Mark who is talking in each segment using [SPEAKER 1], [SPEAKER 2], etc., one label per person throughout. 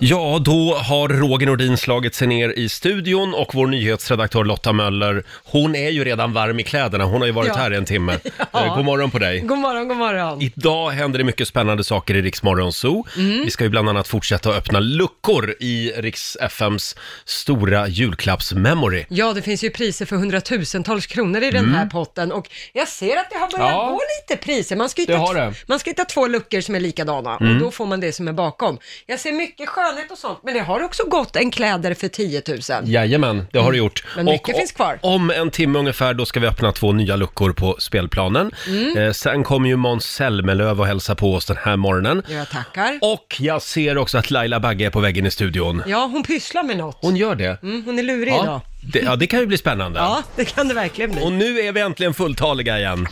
[SPEAKER 1] Ja, då har Roger Nordin slagit sig ner i studion och vår nyhetsredaktör Lotta Möller, hon är ju redan varm i kläderna. Hon har ju varit
[SPEAKER 2] Ja.
[SPEAKER 1] här i en timme.
[SPEAKER 2] Ja.
[SPEAKER 1] Eh, God morgon på dig.
[SPEAKER 2] God morgon, god morgon.
[SPEAKER 1] Idag händer det mycket spännande saker i Rix Morgon Zoo.
[SPEAKER 2] Mm.
[SPEAKER 1] Vi ska ju bland annat fortsätta att öppna luckor i Rix FMs stora julklappsmemory.
[SPEAKER 2] Ja, det finns ju priser för hundratusentals kronor i den här potten och jag ser att det har börjat
[SPEAKER 1] Mm. Ja.
[SPEAKER 2] gå lite priser. Man ska,
[SPEAKER 1] Det
[SPEAKER 2] hitta
[SPEAKER 1] har det. Mm.
[SPEAKER 2] man ska hitta två luckor som är likadana och då får man det som är bakom. Jag ser mycket skönhet och sånt, men det har också gått en kläder för 10 000.
[SPEAKER 1] Jajamän, det har det gjort.
[SPEAKER 2] Mm. Men mycket finns kvar.
[SPEAKER 1] Om en timme ungefär, då ska vi öppna två nya luckor på spelplanen.
[SPEAKER 2] Mm.
[SPEAKER 1] Eh, sen kommer ju Måns Zelmerlöw och hälsa på oss den här morgonen.
[SPEAKER 2] Jag tackar.
[SPEAKER 1] Och jag ser också att Laila Bagge är på väggen i studion.
[SPEAKER 2] Ja, hon pysslar med något.
[SPEAKER 1] Hon gör det.
[SPEAKER 2] Mm, hon är lurig idag.
[SPEAKER 1] Ja, det, ja, det kan ju bli spännande.
[SPEAKER 2] Ja, det kan det verkligen bli.
[SPEAKER 1] Och nu är vi äntligen fulltaliga igen.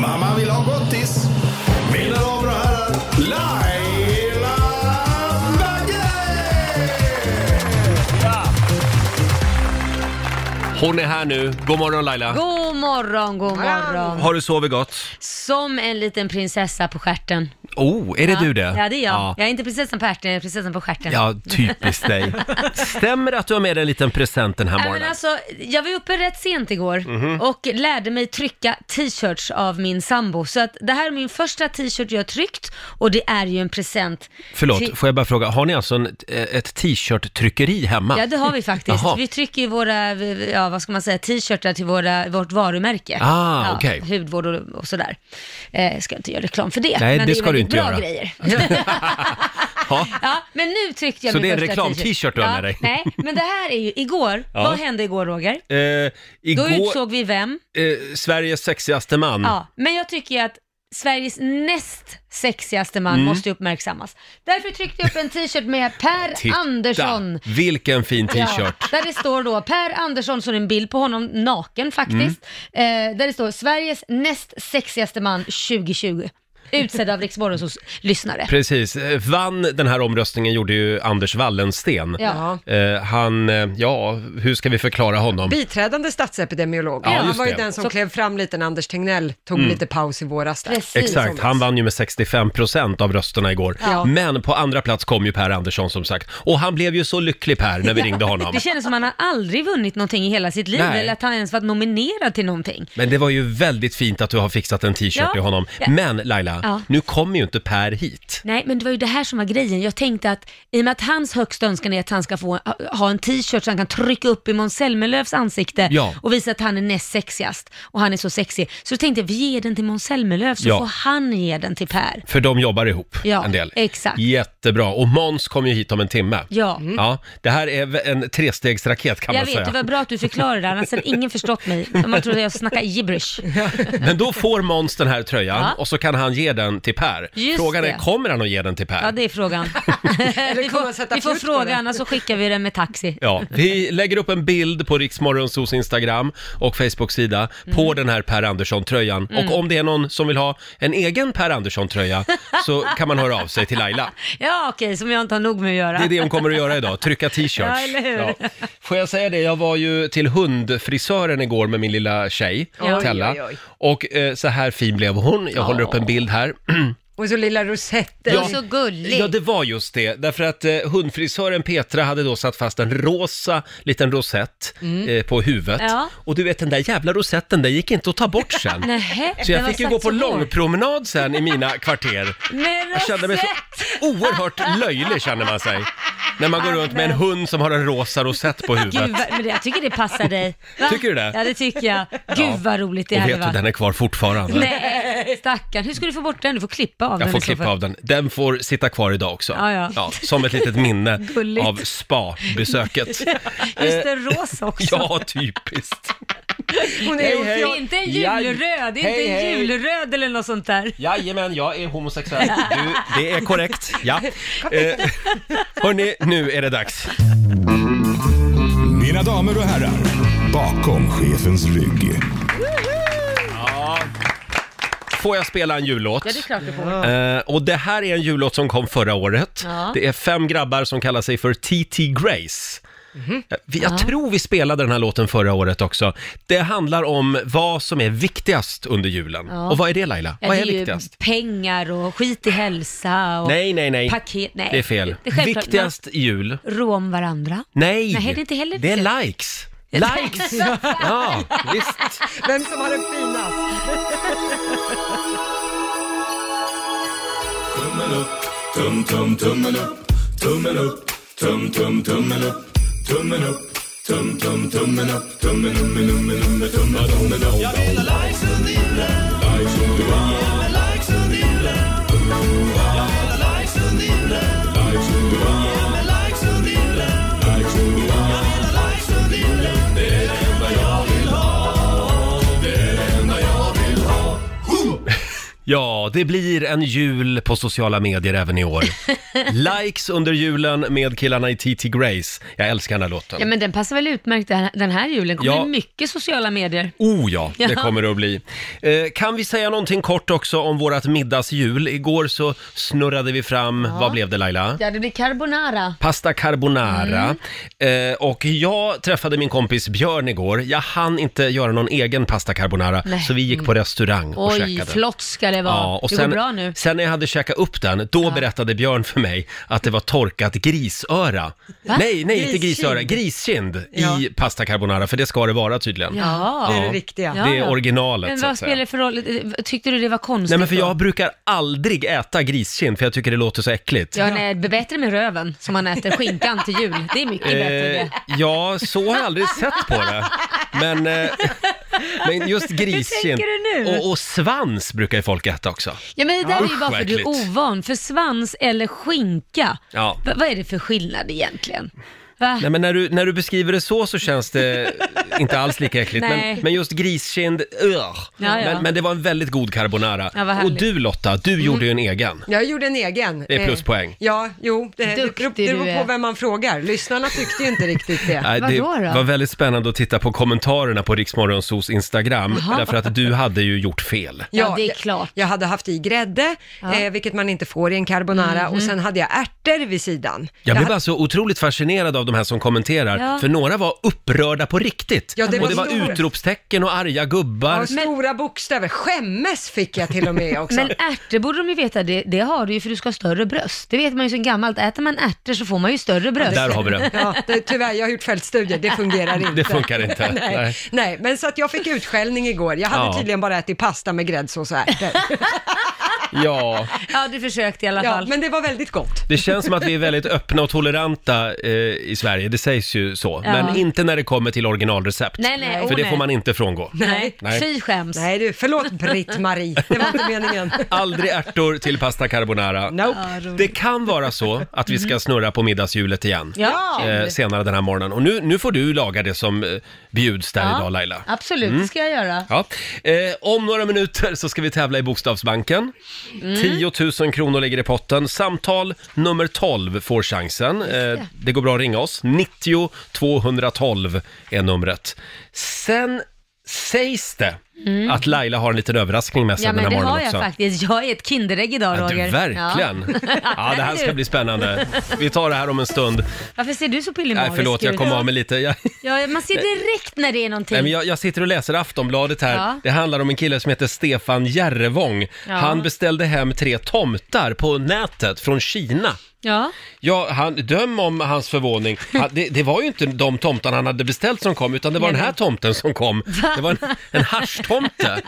[SPEAKER 3] Mamma vill ha gottis. Mina damer och herrar, Laila Bagge!
[SPEAKER 1] Hon är här nu. God morgon Laila.
[SPEAKER 4] God morgon, god morgon.
[SPEAKER 1] Har du sovit gott?
[SPEAKER 4] Som en liten prinsessa på stjärten.
[SPEAKER 1] Oh, är det du det?
[SPEAKER 4] Ja, det är jag.
[SPEAKER 1] Ja.
[SPEAKER 4] Jag är inte prinsessan på stjärten, jag är prinsessan på stjärten. Äh,
[SPEAKER 1] Ja, typiskt dig. Stämmer det att du har med dig en liten present den här
[SPEAKER 4] Nej, men
[SPEAKER 1] morgonen? Mhm.
[SPEAKER 4] alltså, jag var uppe rätt sent igår och lärde mig trycka t-shirts av min sambo. Så att det här är min första t-shirt jag har tryckt och det är ju en present. till-
[SPEAKER 1] Förlåt, får jag bara fråga, har ni alltså en, ett t-shirt-tryckeri hemma?
[SPEAKER 4] Ja, det har vi faktiskt.
[SPEAKER 1] Jaha.
[SPEAKER 4] Vi trycker ju våra, ja vad ska man säga, t-shirtar till våra, vårt varumärke.
[SPEAKER 1] Ah,
[SPEAKER 4] ja,
[SPEAKER 1] okej.
[SPEAKER 4] Hudvård och, och sådär. Eh, ska inte göra reklam för det,
[SPEAKER 1] Nej,
[SPEAKER 4] men
[SPEAKER 1] det
[SPEAKER 4] det är
[SPEAKER 1] ska du
[SPEAKER 4] väldigt
[SPEAKER 1] inte
[SPEAKER 4] bra
[SPEAKER 1] göra.
[SPEAKER 4] grejer.
[SPEAKER 1] Ja. Eh,
[SPEAKER 4] Ja, men nu tryckte jag
[SPEAKER 1] Så
[SPEAKER 4] min
[SPEAKER 1] det är en
[SPEAKER 4] första
[SPEAKER 1] reklam-t-shirt du har
[SPEAKER 4] ja,
[SPEAKER 1] med dig?
[SPEAKER 4] Nej, men det här är ju igår.
[SPEAKER 1] Ja.
[SPEAKER 4] Vad hände igår Roger?
[SPEAKER 1] Eh,
[SPEAKER 4] Då
[SPEAKER 1] igår,
[SPEAKER 4] utsåg vi vem?
[SPEAKER 1] eh, Sveriges sexigaste man.
[SPEAKER 4] Ja, men jag tycker ju att Sveriges näst sexigaste man
[SPEAKER 1] Mm.
[SPEAKER 4] måste uppmärksammas. Därför tryckte jag upp en t-shirt med Per
[SPEAKER 1] Titta,
[SPEAKER 4] Andersson.
[SPEAKER 1] vilken fin t-shirt.
[SPEAKER 4] Ja, där det står då Per Andersson, så är det en bild på honom naken faktiskt.
[SPEAKER 1] Mm.
[SPEAKER 4] Eh, där det står Sveriges näst sexigaste man 2020. Utsedd av Rix Morgonzos lyssnare.
[SPEAKER 1] Precis. Eh, Vann den här omröstningen gjorde ju Anders Wallensten.
[SPEAKER 4] Ja.
[SPEAKER 1] Eh, han, eh, ja, hur ska vi förklara honom?
[SPEAKER 2] Biträdande statsepidemiolog.
[SPEAKER 1] Ja,
[SPEAKER 2] han
[SPEAKER 1] just
[SPEAKER 2] var ju
[SPEAKER 1] det. Mm.
[SPEAKER 2] den som
[SPEAKER 4] Så-
[SPEAKER 2] klev fram lite när Anders Tegnell tog lite paus i våras. Där.
[SPEAKER 4] Precis.
[SPEAKER 1] Exakt, han vann ju med 65% av rösterna igår.
[SPEAKER 4] Ja.
[SPEAKER 1] Men på andra plats kom ju Per Andersson som sagt. Och han blev ju så lycklig Per när vi ringde honom.
[SPEAKER 4] Det kändes som att han har aldrig vunnit någonting i hela sitt liv
[SPEAKER 1] Nej.
[SPEAKER 4] eller att han ens varit nominerad till någonting.
[SPEAKER 1] Men det var ju väldigt fint att du har fixat en t-shirt
[SPEAKER 4] Ja.
[SPEAKER 1] till honom.
[SPEAKER 4] Ja.
[SPEAKER 1] Men Laila,
[SPEAKER 4] Ja.
[SPEAKER 1] nu kommer ju inte Per hit.
[SPEAKER 4] Nej, men det var ju det här som var grejen. Jag tänkte att i och med att hans högsta önskan är att han ska få ha en t-shirt så han kan trycka upp i Måns Zelmerlöws ansikte
[SPEAKER 1] Ja.
[SPEAKER 4] och visa att han är näst sexigast och han är så sexig. Så då tänkte jag, vi ger den till Måns Zelmerlöw så
[SPEAKER 1] Ja.
[SPEAKER 4] får han ge den till Per.
[SPEAKER 1] För de jobbar ihop
[SPEAKER 4] Ja,
[SPEAKER 1] en del.
[SPEAKER 4] exakt.
[SPEAKER 1] Jättebra. Och Måns kommer ju hit om en timme.
[SPEAKER 4] Ja.
[SPEAKER 1] Ja, det här är en trestegsraket kan Mm,
[SPEAKER 4] Jag
[SPEAKER 1] man
[SPEAKER 4] vet,
[SPEAKER 1] säga.
[SPEAKER 4] det var bra att du förklarade det, annars hade ingen förstått mig. Om man trodde jag snackade gibberish.
[SPEAKER 1] Men då får Måns den här tröjan
[SPEAKER 4] Ja.
[SPEAKER 1] och så kan han ge den till Per.
[SPEAKER 4] Just
[SPEAKER 1] Frågan är,
[SPEAKER 4] det.
[SPEAKER 1] kommer han att ge den till Per?
[SPEAKER 4] Ja, det är frågan. vi
[SPEAKER 2] kommer han sätta
[SPEAKER 4] får, vi får
[SPEAKER 2] fjut på det?
[SPEAKER 4] fråga, annars så skickar vi den med taxi.
[SPEAKER 1] Ja, vi lägger upp en bild på Riksmorgonsos Instagram och Facebook-sida
[SPEAKER 4] Mm.
[SPEAKER 1] på den här Per Andersson-tröjan. Och om det är någon som vill ha en egen Per Andersson-tröja så kan man höra av sig till Laila.
[SPEAKER 4] Ja, okej, som jag inte har nog med att göra.
[SPEAKER 1] Det är det hon kommer att göra idag, trycka t-shirts.
[SPEAKER 4] Ja, eller hur?
[SPEAKER 1] Får jag säga det, jag var ju till hundfrisören igår med min lilla tjej,
[SPEAKER 2] Ja.
[SPEAKER 1] Tella.
[SPEAKER 2] Oj, oj, oj.
[SPEAKER 1] Och eh, så här fin blev hon. Jag håller upp en bild här.
[SPEAKER 2] Och så lilla rosetter.
[SPEAKER 4] Du är så gullig.
[SPEAKER 1] Ja, det var just det. Därför att eh, hundfrisören Petra hade då satt fast en rosa liten rosett eh, på huvudet.
[SPEAKER 4] Mm. Ja.
[SPEAKER 1] Och du vet den där jävla rosetten, den gick inte att ta bort sen.
[SPEAKER 4] Nähä,
[SPEAKER 1] Så jag
[SPEAKER 4] den var
[SPEAKER 1] fick ju
[SPEAKER 4] satt
[SPEAKER 1] gå på
[SPEAKER 4] så hårt.
[SPEAKER 1] långpromenad sen i mina kvarter.
[SPEAKER 4] Med
[SPEAKER 1] Jag kände mig
[SPEAKER 4] rosett.
[SPEAKER 1] så oerhört löjlig känner man sig. När man går runt med en hund som har en rosa rosett på huvudet.
[SPEAKER 4] Alltså. Gud, vad, men det- jag tycker det passar dig. Va?
[SPEAKER 1] Tycker du det?
[SPEAKER 4] Ja, det tycker jag. Gud
[SPEAKER 1] Ja.
[SPEAKER 4] vad roligt det
[SPEAKER 1] Och
[SPEAKER 4] hade
[SPEAKER 1] vet du,
[SPEAKER 4] varit.
[SPEAKER 1] den är kvar fortfarande.
[SPEAKER 4] Nej, stackarn. Hur ska du få bort den? Du får klippa av den
[SPEAKER 1] Jag får
[SPEAKER 4] i så
[SPEAKER 1] klippa
[SPEAKER 4] fall.
[SPEAKER 1] av den. Den får sitta kvar idag också.
[SPEAKER 4] Ja, ja.
[SPEAKER 1] som ett litet minne
[SPEAKER 4] Gulligt.
[SPEAKER 1] av spa-besöket.
[SPEAKER 4] Just det, rosa också.
[SPEAKER 1] Eh, Ja, typiskt.
[SPEAKER 2] Hon är
[SPEAKER 1] Hej,
[SPEAKER 4] Det
[SPEAKER 1] hej.
[SPEAKER 4] är inte en
[SPEAKER 1] Ja.
[SPEAKER 4] julröd, det är
[SPEAKER 1] Hej,
[SPEAKER 4] inte en
[SPEAKER 1] hej.
[SPEAKER 4] julröd eller något sånt där.
[SPEAKER 1] Jajamän, jag är homosexuell. Du, det är korrekt. Ja. Eh, hörni, nu är det dags.
[SPEAKER 3] Mina damer och herrar, bakom chefens rygg.
[SPEAKER 1] får jag spela en jullåt.
[SPEAKER 4] Ja, det är klart du får.
[SPEAKER 1] Eh, och det här är en jullåt som kom förra året.
[SPEAKER 4] Ja.
[SPEAKER 1] Det är fem grabbar som kallar sig för TT Grace.
[SPEAKER 4] Mhm.
[SPEAKER 1] Eh, vi- Jag tror vi spelade den här låten förra året också. Det handlar om vad som är viktigast under julen.
[SPEAKER 4] Ja.
[SPEAKER 1] Och vad är det Laila?
[SPEAKER 4] Ja,
[SPEAKER 1] vad
[SPEAKER 4] det
[SPEAKER 1] är,
[SPEAKER 4] är ju
[SPEAKER 1] viktigast?
[SPEAKER 4] pengar och skit i hälsa och
[SPEAKER 1] Nej, nej, nej.
[SPEAKER 4] paket. Nej,
[SPEAKER 1] Det är fel.
[SPEAKER 4] Det är självklart.
[SPEAKER 1] viktigast i jul.
[SPEAKER 4] Rå om varandra.
[SPEAKER 1] Nej!
[SPEAKER 4] Nej, det är inte heller
[SPEAKER 1] det
[SPEAKER 4] viktigt.
[SPEAKER 1] är likes. Likes! ja, visst.
[SPEAKER 2] Vem som har den finast?
[SPEAKER 3] Tummen upp, tum tum tummen upp, tummen upp, tum tum tummen upp, tummen upp, tum tum tummen upp, tummen upp, nummen nummen nummen tummen tummen upp. Jag vill ha likes under julen, likes under julen, jag vill ha likes under julen. Jag vill ha likes under julen, likes under julen, jag vill ha likes under julen, likes under julen, jag vill ha likes under julen. Det är det enda jag vill ha, det är det enda jag vill ha.
[SPEAKER 1] Ja, det blir en jul på sociala medier även i år. Likes under julen med killarna i TT Grace. Jag älskar den här låten.
[SPEAKER 4] Ja, men den passar väl utmärkt den här- den här julen. Kommer
[SPEAKER 1] Ja.
[SPEAKER 4] det mycket sociala medier.
[SPEAKER 1] Oh ja, det
[SPEAKER 4] Ja.
[SPEAKER 1] kommer det att bli. Eh, kan vi säga någonting kort också om vårat middagshjul? Igår så snurrade vi fram, vad blev det Laila?
[SPEAKER 4] Ja, det blir carbonara.
[SPEAKER 1] Pasta carbonara.
[SPEAKER 4] Mm.
[SPEAKER 1] Eh, och jag träffade min kompis Björn igår. Jag hann inte göra någon egen pasta carbonara,
[SPEAKER 4] Nej. Mm.
[SPEAKER 1] så vi gick på restaurang och
[SPEAKER 4] Oj,
[SPEAKER 1] käkade.
[SPEAKER 4] flott ska det vara.
[SPEAKER 1] Ja, och
[SPEAKER 4] det
[SPEAKER 1] sen,
[SPEAKER 4] går bra nu.
[SPEAKER 1] sen när jag hade käkat upp den, då berättade Björn för mig att det var torkat grisöra.
[SPEAKER 4] Va?
[SPEAKER 1] Nej, nej, inte
[SPEAKER 2] Griskind.
[SPEAKER 1] grisöra, griskind
[SPEAKER 2] Ja.
[SPEAKER 1] i pasta carbonara, för det ska det vara tydligen.
[SPEAKER 4] Ja.
[SPEAKER 2] Det är det riktiga.
[SPEAKER 4] Ja.
[SPEAKER 1] Det är originalet
[SPEAKER 4] Men
[SPEAKER 1] så
[SPEAKER 4] vad
[SPEAKER 1] att
[SPEAKER 4] spelar
[SPEAKER 1] säga.
[SPEAKER 4] det för roll? Tyckte du det var konstigt?
[SPEAKER 1] Nej men för
[SPEAKER 4] då?
[SPEAKER 1] jag brukar aldrig äta griskind för jag tycker det låter så äckligt.
[SPEAKER 4] Ja, nej, det är bättre med röven som man äter skinkan till jul. Det är mycket bättre
[SPEAKER 1] Eh,
[SPEAKER 4] det.
[SPEAKER 1] ja, så har jag aldrig sett på det. Men, eh, men just griskind.
[SPEAKER 4] tänker du nu?
[SPEAKER 1] Och, och svans brukar ju folk äta också.
[SPEAKER 4] Ja men det där är ju
[SPEAKER 1] Usch,
[SPEAKER 4] bara för
[SPEAKER 1] vad
[SPEAKER 4] att du är
[SPEAKER 1] äckligt.
[SPEAKER 4] ovan. För svans eller skinka,
[SPEAKER 1] Ja.
[SPEAKER 4] Va- vad är det för skillnad egentligen? Va?
[SPEAKER 1] Nej men när du, när du beskriver det så så känns det inte alls lika äckligt. Men,
[SPEAKER 4] Nej.
[SPEAKER 1] men just griskind, ugh.
[SPEAKER 4] ja.
[SPEAKER 1] Men, men det var en väldigt god carbonara.
[SPEAKER 4] Ja, vad
[SPEAKER 1] och
[SPEAKER 4] härligt. Mm.
[SPEAKER 1] du Lotta, du gjorde ju en egen.
[SPEAKER 2] Jag gjorde en egen.
[SPEAKER 1] Det är
[SPEAKER 2] Eh,
[SPEAKER 1] pluspoäng.
[SPEAKER 2] Ja, jo, det, det
[SPEAKER 4] Duktig
[SPEAKER 2] beror- det
[SPEAKER 4] du
[SPEAKER 2] beror
[SPEAKER 4] är.
[SPEAKER 2] på vem man frågar. Lyssnarna tyckte ju inte riktigt det.
[SPEAKER 1] Nej, det
[SPEAKER 4] Vadå då?
[SPEAKER 1] var väldigt spännande att titta på kommentarerna på Riksmorgonsos Instagram, därför att du hade ju gjort fel.
[SPEAKER 4] Ja, det är klart.
[SPEAKER 2] Jag, jag hade haft i grädde, eh, vilket man inte får i en carbonara,
[SPEAKER 4] Mhm.
[SPEAKER 2] och sen hade jag ärtor vid sidan.
[SPEAKER 1] Jag blev
[SPEAKER 2] hade-
[SPEAKER 1] bara så otroligt fascinerad av de här som kommenterar,
[SPEAKER 4] Ja.
[SPEAKER 1] för några var upprörda på riktigt.
[SPEAKER 2] Ja, det
[SPEAKER 1] och
[SPEAKER 2] var
[SPEAKER 1] det var
[SPEAKER 2] stor-
[SPEAKER 1] utropstecken och arga gubbar.
[SPEAKER 2] Ja, stora bokstäver. Skämmes fick jag till och med också.
[SPEAKER 4] Men ärtor borde de ju veta, det, det har du ju för du ska ha större bröst. Det vet man ju sen gammalt, äter man ärtor så får man ju större bröst.
[SPEAKER 1] Där har vi det.
[SPEAKER 2] Ja, det, tyvärr, jag har gjort fältstudier, det fungerar inte.
[SPEAKER 1] Det funkar inte. Nej.
[SPEAKER 2] Nej. Nej, men så att jag fick utskällning igår. Jag hade
[SPEAKER 1] Ja.
[SPEAKER 2] tydligen bara ätit pasta med gräddsås och ärtor.
[SPEAKER 1] Ja,
[SPEAKER 4] Ja, du försökte i alla
[SPEAKER 2] Ja,
[SPEAKER 4] fall.
[SPEAKER 2] men det var väldigt gott.
[SPEAKER 1] det känns som att vi är väldigt öppna och toleranta eh, i Sverige, det sägs ju så.
[SPEAKER 4] Ja.
[SPEAKER 1] Men inte när det kommer till originalrecept.
[SPEAKER 4] Nej, nej,
[SPEAKER 1] för
[SPEAKER 4] oh,
[SPEAKER 1] det
[SPEAKER 4] nej.
[SPEAKER 1] får man inte frångå.
[SPEAKER 4] Nej,
[SPEAKER 1] Nej.
[SPEAKER 4] fy skäms.
[SPEAKER 2] Nej du, förlåt Britt-Marie, det var inte meningen.
[SPEAKER 1] Aldrig ärtor till pasta carbonara.
[SPEAKER 2] Nope.
[SPEAKER 1] Det kan vara så att vi ska snurra på middagshjulet igen.
[SPEAKER 4] Mm. Ja,
[SPEAKER 1] Eh, senare den här morgonen. Och nu, nu får du laga det som eh, bjuds där
[SPEAKER 4] Ja,
[SPEAKER 1] idag Laila. Mm.
[SPEAKER 4] absolut, det ska jag göra.
[SPEAKER 1] Ja. Eh, om några minuter så ska vi tävla i Bokstavsbanken.
[SPEAKER 4] Mm.
[SPEAKER 1] 10 000 kronor ligger i potten. Samtal nummer 12 får chansen. Eh, det går bra att ringa oss. 90 212 är numret. Sen sägs det att Laila har en liten överraskning med sig
[SPEAKER 4] Mm. Ja,
[SPEAKER 1] den här
[SPEAKER 4] men det
[SPEAKER 1] morgonen
[SPEAKER 4] har jag
[SPEAKER 1] också.
[SPEAKER 4] faktiskt. Jag är ett Kinderägg idag,
[SPEAKER 1] Ja,
[SPEAKER 4] Roger.
[SPEAKER 1] du, verkligen! Ja.
[SPEAKER 4] Ja.
[SPEAKER 1] det här ska bli spännande. Vi tar det här om en stund.
[SPEAKER 4] Varför ser du så
[SPEAKER 1] Nej,
[SPEAKER 4] pillemarisk
[SPEAKER 1] förlåt, jag
[SPEAKER 4] ut?
[SPEAKER 1] kom av mig lite. Jag,
[SPEAKER 4] Ja, man ser direkt när det är någonting.
[SPEAKER 1] nej, men jag, jag sitter och läser Aftonbladet här.
[SPEAKER 4] Ja.
[SPEAKER 1] Det handlar om en kille som heter Stefan Järrevång.
[SPEAKER 4] Ja.
[SPEAKER 1] Han beställde hem tre tomtar på nätet från Kina.
[SPEAKER 4] Ja.
[SPEAKER 1] Ja, han, döm om hans förvåning. Han, det, det var ju inte de tomtarna han hade beställt som kom, utan det var
[SPEAKER 4] Nej,
[SPEAKER 1] den här
[SPEAKER 4] men-
[SPEAKER 1] tomten som kom. Det var en, en haschtomte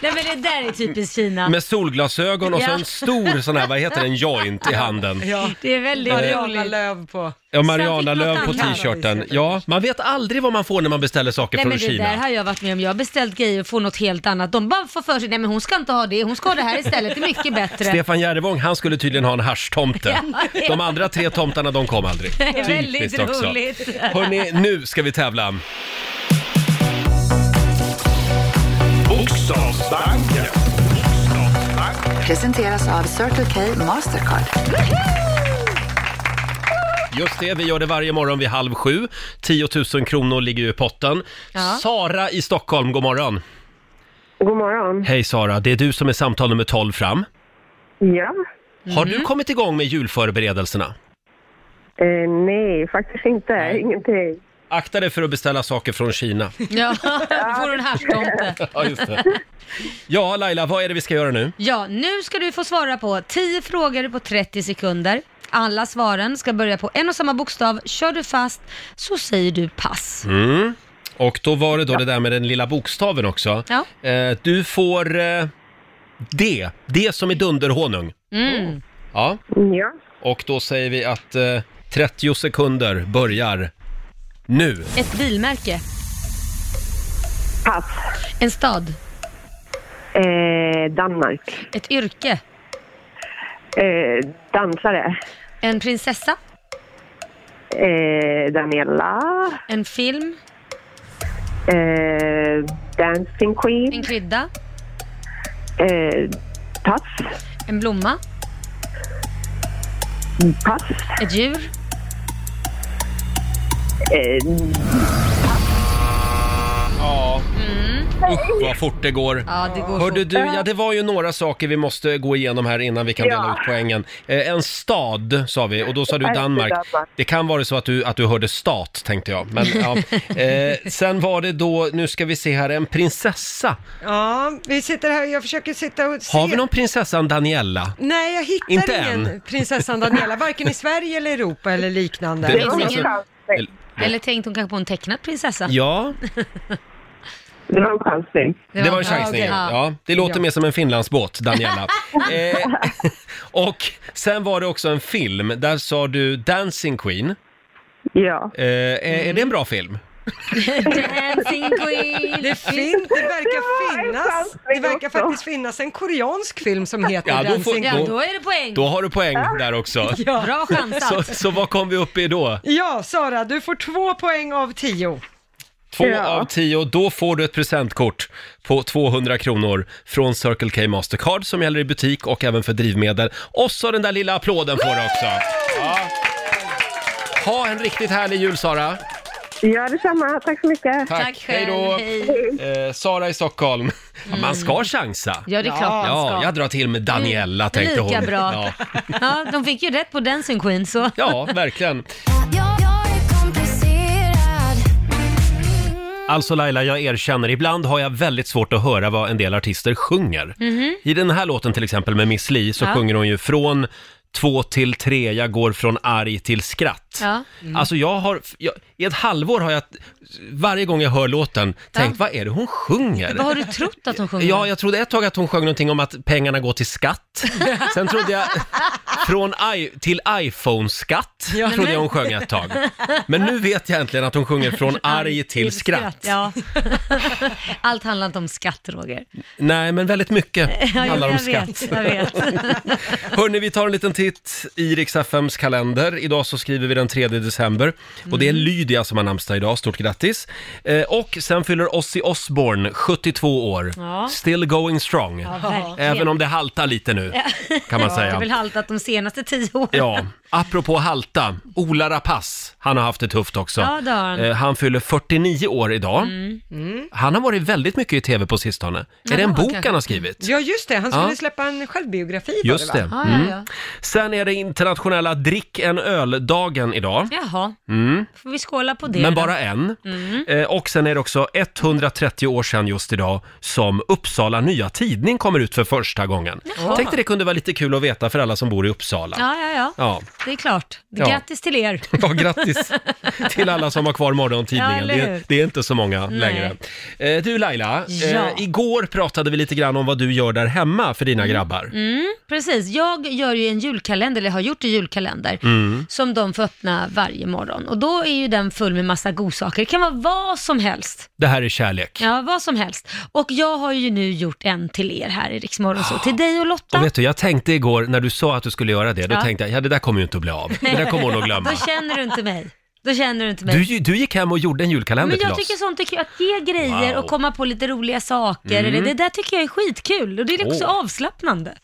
[SPEAKER 4] Nej, men det där är typiskt Kina.
[SPEAKER 1] med solglasögon och så
[SPEAKER 4] Ja.
[SPEAKER 1] en stor sån här, vad heter det, en joint i handen.
[SPEAKER 2] Ja.
[SPEAKER 4] Det är väldigt
[SPEAKER 2] Mariana
[SPEAKER 4] roligt.
[SPEAKER 2] Lööv på.
[SPEAKER 1] Ja,
[SPEAKER 4] Sen
[SPEAKER 1] Mariana
[SPEAKER 4] fick
[SPEAKER 1] Lööf
[SPEAKER 4] något
[SPEAKER 1] på
[SPEAKER 4] annat.
[SPEAKER 1] t-shirten. Ja, man vet aldrig vad man får när man beställer saker
[SPEAKER 4] Nej
[SPEAKER 1] från
[SPEAKER 4] men det
[SPEAKER 1] Kina.
[SPEAKER 4] där har jag varit med om. Jag har beställt grejer och får något helt annat. De bara får för sig, nej men hon ska inte ha det, hon ska ha det här istället. Det är mycket bättre.
[SPEAKER 1] Stefan Järvång, han skulle tydligen ha en haschtomte.
[SPEAKER 4] Ja, ja.
[SPEAKER 1] De andra tre tomtarna, de kom aldrig.
[SPEAKER 4] Det är väldigt
[SPEAKER 1] Typiskt också.
[SPEAKER 4] roligt.
[SPEAKER 1] Hörrni, nu ska vi tävla.
[SPEAKER 3] Bokstavsbanken.
[SPEAKER 5] Presenteras av Circle K Mastercard.
[SPEAKER 1] Just det, vi gör det varje morgon vid halv sju. 10 000 kronor ligger ju i potten.
[SPEAKER 4] Ja.
[SPEAKER 1] Sara i Stockholm, god morgon.
[SPEAKER 6] God morgon.
[SPEAKER 1] Hej Sara, det är du som är samtal nummer 12 fram.
[SPEAKER 6] Ja.
[SPEAKER 1] Har
[SPEAKER 4] Mm.
[SPEAKER 1] du kommit igång med julförberedelserna?
[SPEAKER 6] Eh, nej, faktiskt inte. Ingenting.
[SPEAKER 1] Akta dig för att beställa saker från Kina.
[SPEAKER 4] Ja, då får du en haschtomte.
[SPEAKER 1] Ja, just det. Ja, Laila, vad är det vi ska göra nu?
[SPEAKER 4] Ja, nu ska du få svara på 10 frågor på 30 sekunder. Alla svaren ska börja på en och samma bokstav. Kör du fast så säger du pass.
[SPEAKER 1] Mm. Och då var det då det där med den lilla bokstaven också.
[SPEAKER 4] Ja.
[SPEAKER 1] Eh, du får eh, D. D som i dunderhonung. Oh.
[SPEAKER 4] Mm.
[SPEAKER 1] Ja,
[SPEAKER 6] Ja.
[SPEAKER 1] och då säger vi att eh, 30 sekunder börjar nu.
[SPEAKER 4] Ett bilmärke.
[SPEAKER 6] Pass.
[SPEAKER 4] En stad.
[SPEAKER 6] Eh, Danmark.
[SPEAKER 4] Ett yrke.
[SPEAKER 6] Eh, dansare.
[SPEAKER 4] En prinsessa.
[SPEAKER 6] Eh, Daniela.
[SPEAKER 4] En film.
[SPEAKER 6] Eh, Dancing
[SPEAKER 4] En
[SPEAKER 6] Queen.
[SPEAKER 4] krydda.
[SPEAKER 6] Eh, pass.
[SPEAKER 4] En blomma.
[SPEAKER 6] Pass.
[SPEAKER 4] Ett djur.
[SPEAKER 6] Eh,
[SPEAKER 1] Ja. Usch, vad fort det går.
[SPEAKER 4] Ja, det går
[SPEAKER 1] Hörde
[SPEAKER 4] fort.
[SPEAKER 1] du, ja det var ju några saker vi måste gå igenom här innan vi kan dela
[SPEAKER 6] Ja.
[SPEAKER 1] ut poängen. Eh, en stad sa vi och då sa du Danmark.
[SPEAKER 6] Danmark.
[SPEAKER 1] Det kan vara så att du, att du hörde stat tänkte jag. Men, ja. eh, sen var det då, nu ska vi se här, en prinsessa.
[SPEAKER 2] Ja, vi sitter här, jag försöker sitta och se.
[SPEAKER 1] Har vi någon prinsessan Daniella?
[SPEAKER 2] Nej, jag hittar
[SPEAKER 1] Inte
[SPEAKER 2] ingen
[SPEAKER 1] än.
[SPEAKER 2] prinsessan Daniela, varken i Sverige eller Europa eller liknande.
[SPEAKER 1] Det-
[SPEAKER 6] det var en
[SPEAKER 4] ingen-
[SPEAKER 6] chansning.
[SPEAKER 4] Eller tänkte hon kanske på en tecknad prinsessa?
[SPEAKER 1] Ja,
[SPEAKER 6] Det var en chansning.
[SPEAKER 1] det var en chansning.
[SPEAKER 4] Ja,
[SPEAKER 1] Ja,
[SPEAKER 4] okej.
[SPEAKER 1] det låter
[SPEAKER 2] Ja.
[SPEAKER 1] mer som en Finlandsbåt, Daniella. eh, och sen var det också en film, där sa du Dancing Queen.
[SPEAKER 6] Ja.
[SPEAKER 1] Eh, är, är det en bra film?
[SPEAKER 4] Dancing queen.
[SPEAKER 2] Det, fin- det verkar
[SPEAKER 6] Ja, en
[SPEAKER 2] finnas,
[SPEAKER 6] chansning
[SPEAKER 2] det verkar
[SPEAKER 6] också.
[SPEAKER 2] faktiskt finnas en koreansk film som heter
[SPEAKER 1] Ja, då får-
[SPEAKER 2] Dancing
[SPEAKER 4] Ja, då är det poäng.
[SPEAKER 1] Då har du poäng där också.
[SPEAKER 4] Bra
[SPEAKER 1] Så,
[SPEAKER 4] chansat.
[SPEAKER 1] så vad kom vi upp i då?
[SPEAKER 2] Ja, Sara, du får två poäng av tio.
[SPEAKER 1] Två
[SPEAKER 6] Ja.
[SPEAKER 1] av tio, då får du ett presentkort på 200 kronor från Circle K Mastercard som gäller i butik och även för drivmedel. Och så den där lilla applåden får du också. Ja. Ha en riktigt härlig jul Sara.
[SPEAKER 6] Ja, detsamma. Tack så mycket.
[SPEAKER 1] Tack, hej då.
[SPEAKER 4] Hej.
[SPEAKER 1] Eh, Sara i Stockholm. Ja, man ska chansa.
[SPEAKER 4] Ja, det är klart man ska.
[SPEAKER 1] Ja, jag drar till med Daniella tänkte hon.
[SPEAKER 4] Lika bra.
[SPEAKER 1] Ja.
[SPEAKER 4] Ja. de fick ju rätt på Dancing Queen så.
[SPEAKER 1] ja, verkligen. Alltså Laila, jag erkänner, ibland har jag väldigt svårt att höra vad en del artister sjunger. I den här låten till exempel med Miss Li så
[SPEAKER 4] Mhm. Ja.
[SPEAKER 1] sjunger hon ju från två till tre, jag går från arg till skratt.
[SPEAKER 4] Ja.
[SPEAKER 1] Alltså jag har, jag, i ett halvår har jag, varje gång jag hör låten, tänkt vad är det hon sjunger?
[SPEAKER 4] Vad har du trott att de sjunger?
[SPEAKER 1] Ja, jag trodde ett tag att hon sjöng någonting om att pengarna går till skatt. Sen trodde jag från i, till iPhone-skatt, trodde jag hon sjöng ett tag. Men nu vet jag äntligen att hon sjunger från arg till skratt.
[SPEAKER 4] Ja. Allt handlar inte om skatt, Roger.
[SPEAKER 1] Nej, men väldigt mycket
[SPEAKER 4] Ja,
[SPEAKER 1] handlar om
[SPEAKER 4] jag
[SPEAKER 1] skatt.
[SPEAKER 4] vet, jag vet.
[SPEAKER 1] Hörni, vi tar en liten titt i Rix FMs kalender. Idag så skriver vi den 3 december och
[SPEAKER 4] Mm.
[SPEAKER 1] det är Lydia som har namnsdag idag. Stort grattis! Eh, och sen fyller Ozzy Osbourne 72 år.
[SPEAKER 4] Ja.
[SPEAKER 1] Still going strong.
[SPEAKER 4] verkligen.
[SPEAKER 1] Även om det haltar lite nu, kan man
[SPEAKER 4] Det har väl
[SPEAKER 1] säga.
[SPEAKER 4] haltat de senaste tio åren.
[SPEAKER 1] Ja, apropå halta, Ola Rapace, han har haft det tufft också.
[SPEAKER 4] Ja, det har han. Mm.
[SPEAKER 1] Eh, han fyller 49 år idag. Han har varit väldigt mycket i tv på sistone. är det en
[SPEAKER 4] Jaha,
[SPEAKER 1] bok
[SPEAKER 4] kanske.
[SPEAKER 1] han har skrivit?
[SPEAKER 2] Ja, just det, han skulle
[SPEAKER 1] Ja.
[SPEAKER 2] släppa en självbiografi var
[SPEAKER 1] Just
[SPEAKER 2] va?
[SPEAKER 1] det.
[SPEAKER 4] Ja, ja, ja.
[SPEAKER 1] Sen är det internationella drick en öl-dagen idag.
[SPEAKER 4] Jaha, får vi skåla på det
[SPEAKER 1] Mm. Men
[SPEAKER 4] Mm. då?
[SPEAKER 1] bara en. Eh, och sen är det också 130 år sedan just idag som Uppsala Nya Tidning kommer ut för första gången. Tänkte det kunde vara lite kul att veta för alla som bor i Uppsala.
[SPEAKER 4] Ja, ja, ja,
[SPEAKER 1] Ja.
[SPEAKER 4] Det är klart.
[SPEAKER 1] Ja.
[SPEAKER 4] Grattis till er.
[SPEAKER 1] Ja, grattis till alla som har kvar
[SPEAKER 4] Ja,
[SPEAKER 1] morgontidningen.
[SPEAKER 4] eller
[SPEAKER 1] det,
[SPEAKER 4] hur?
[SPEAKER 1] det är inte så många längre. Eh, du Laila,
[SPEAKER 4] Ja.
[SPEAKER 1] eh, igår pratade vi lite grann om vad du gör där hemma för
[SPEAKER 4] Mm.
[SPEAKER 1] dina grabbar.
[SPEAKER 4] Precis, jag gör ju en julkalender, eller har gjort en julkalender,
[SPEAKER 1] Mm.
[SPEAKER 4] som de får öppna varje morgon. Och då är ju den full med massa godsaker. Det kan vara vad som helst.
[SPEAKER 1] Det här är kärlek.
[SPEAKER 4] Ja, vad som helst. Och jag har ju nu gjort en till er här i Rix Morgon, så till dig och Lotta.
[SPEAKER 1] Och vet du, jag tänkte igår när du sa att du skulle göra det, då
[SPEAKER 4] Ja.
[SPEAKER 1] tänkte jag, ja det där kommer ju inte att bli av. Det där kommer hon att glömma.
[SPEAKER 4] Då känner du inte mig. Då känner du inte mig.
[SPEAKER 1] Du, gi- du gick hem och gjorde en julkalender
[SPEAKER 4] Men
[SPEAKER 1] till
[SPEAKER 4] jag
[SPEAKER 1] oss.
[SPEAKER 4] tycker sånt är kul, att ge grejer
[SPEAKER 1] Wow. Mm.
[SPEAKER 4] och komma på lite roliga saker. Eller, det där tycker jag är skitkul och det är också
[SPEAKER 1] Åh.
[SPEAKER 4] avslappnande.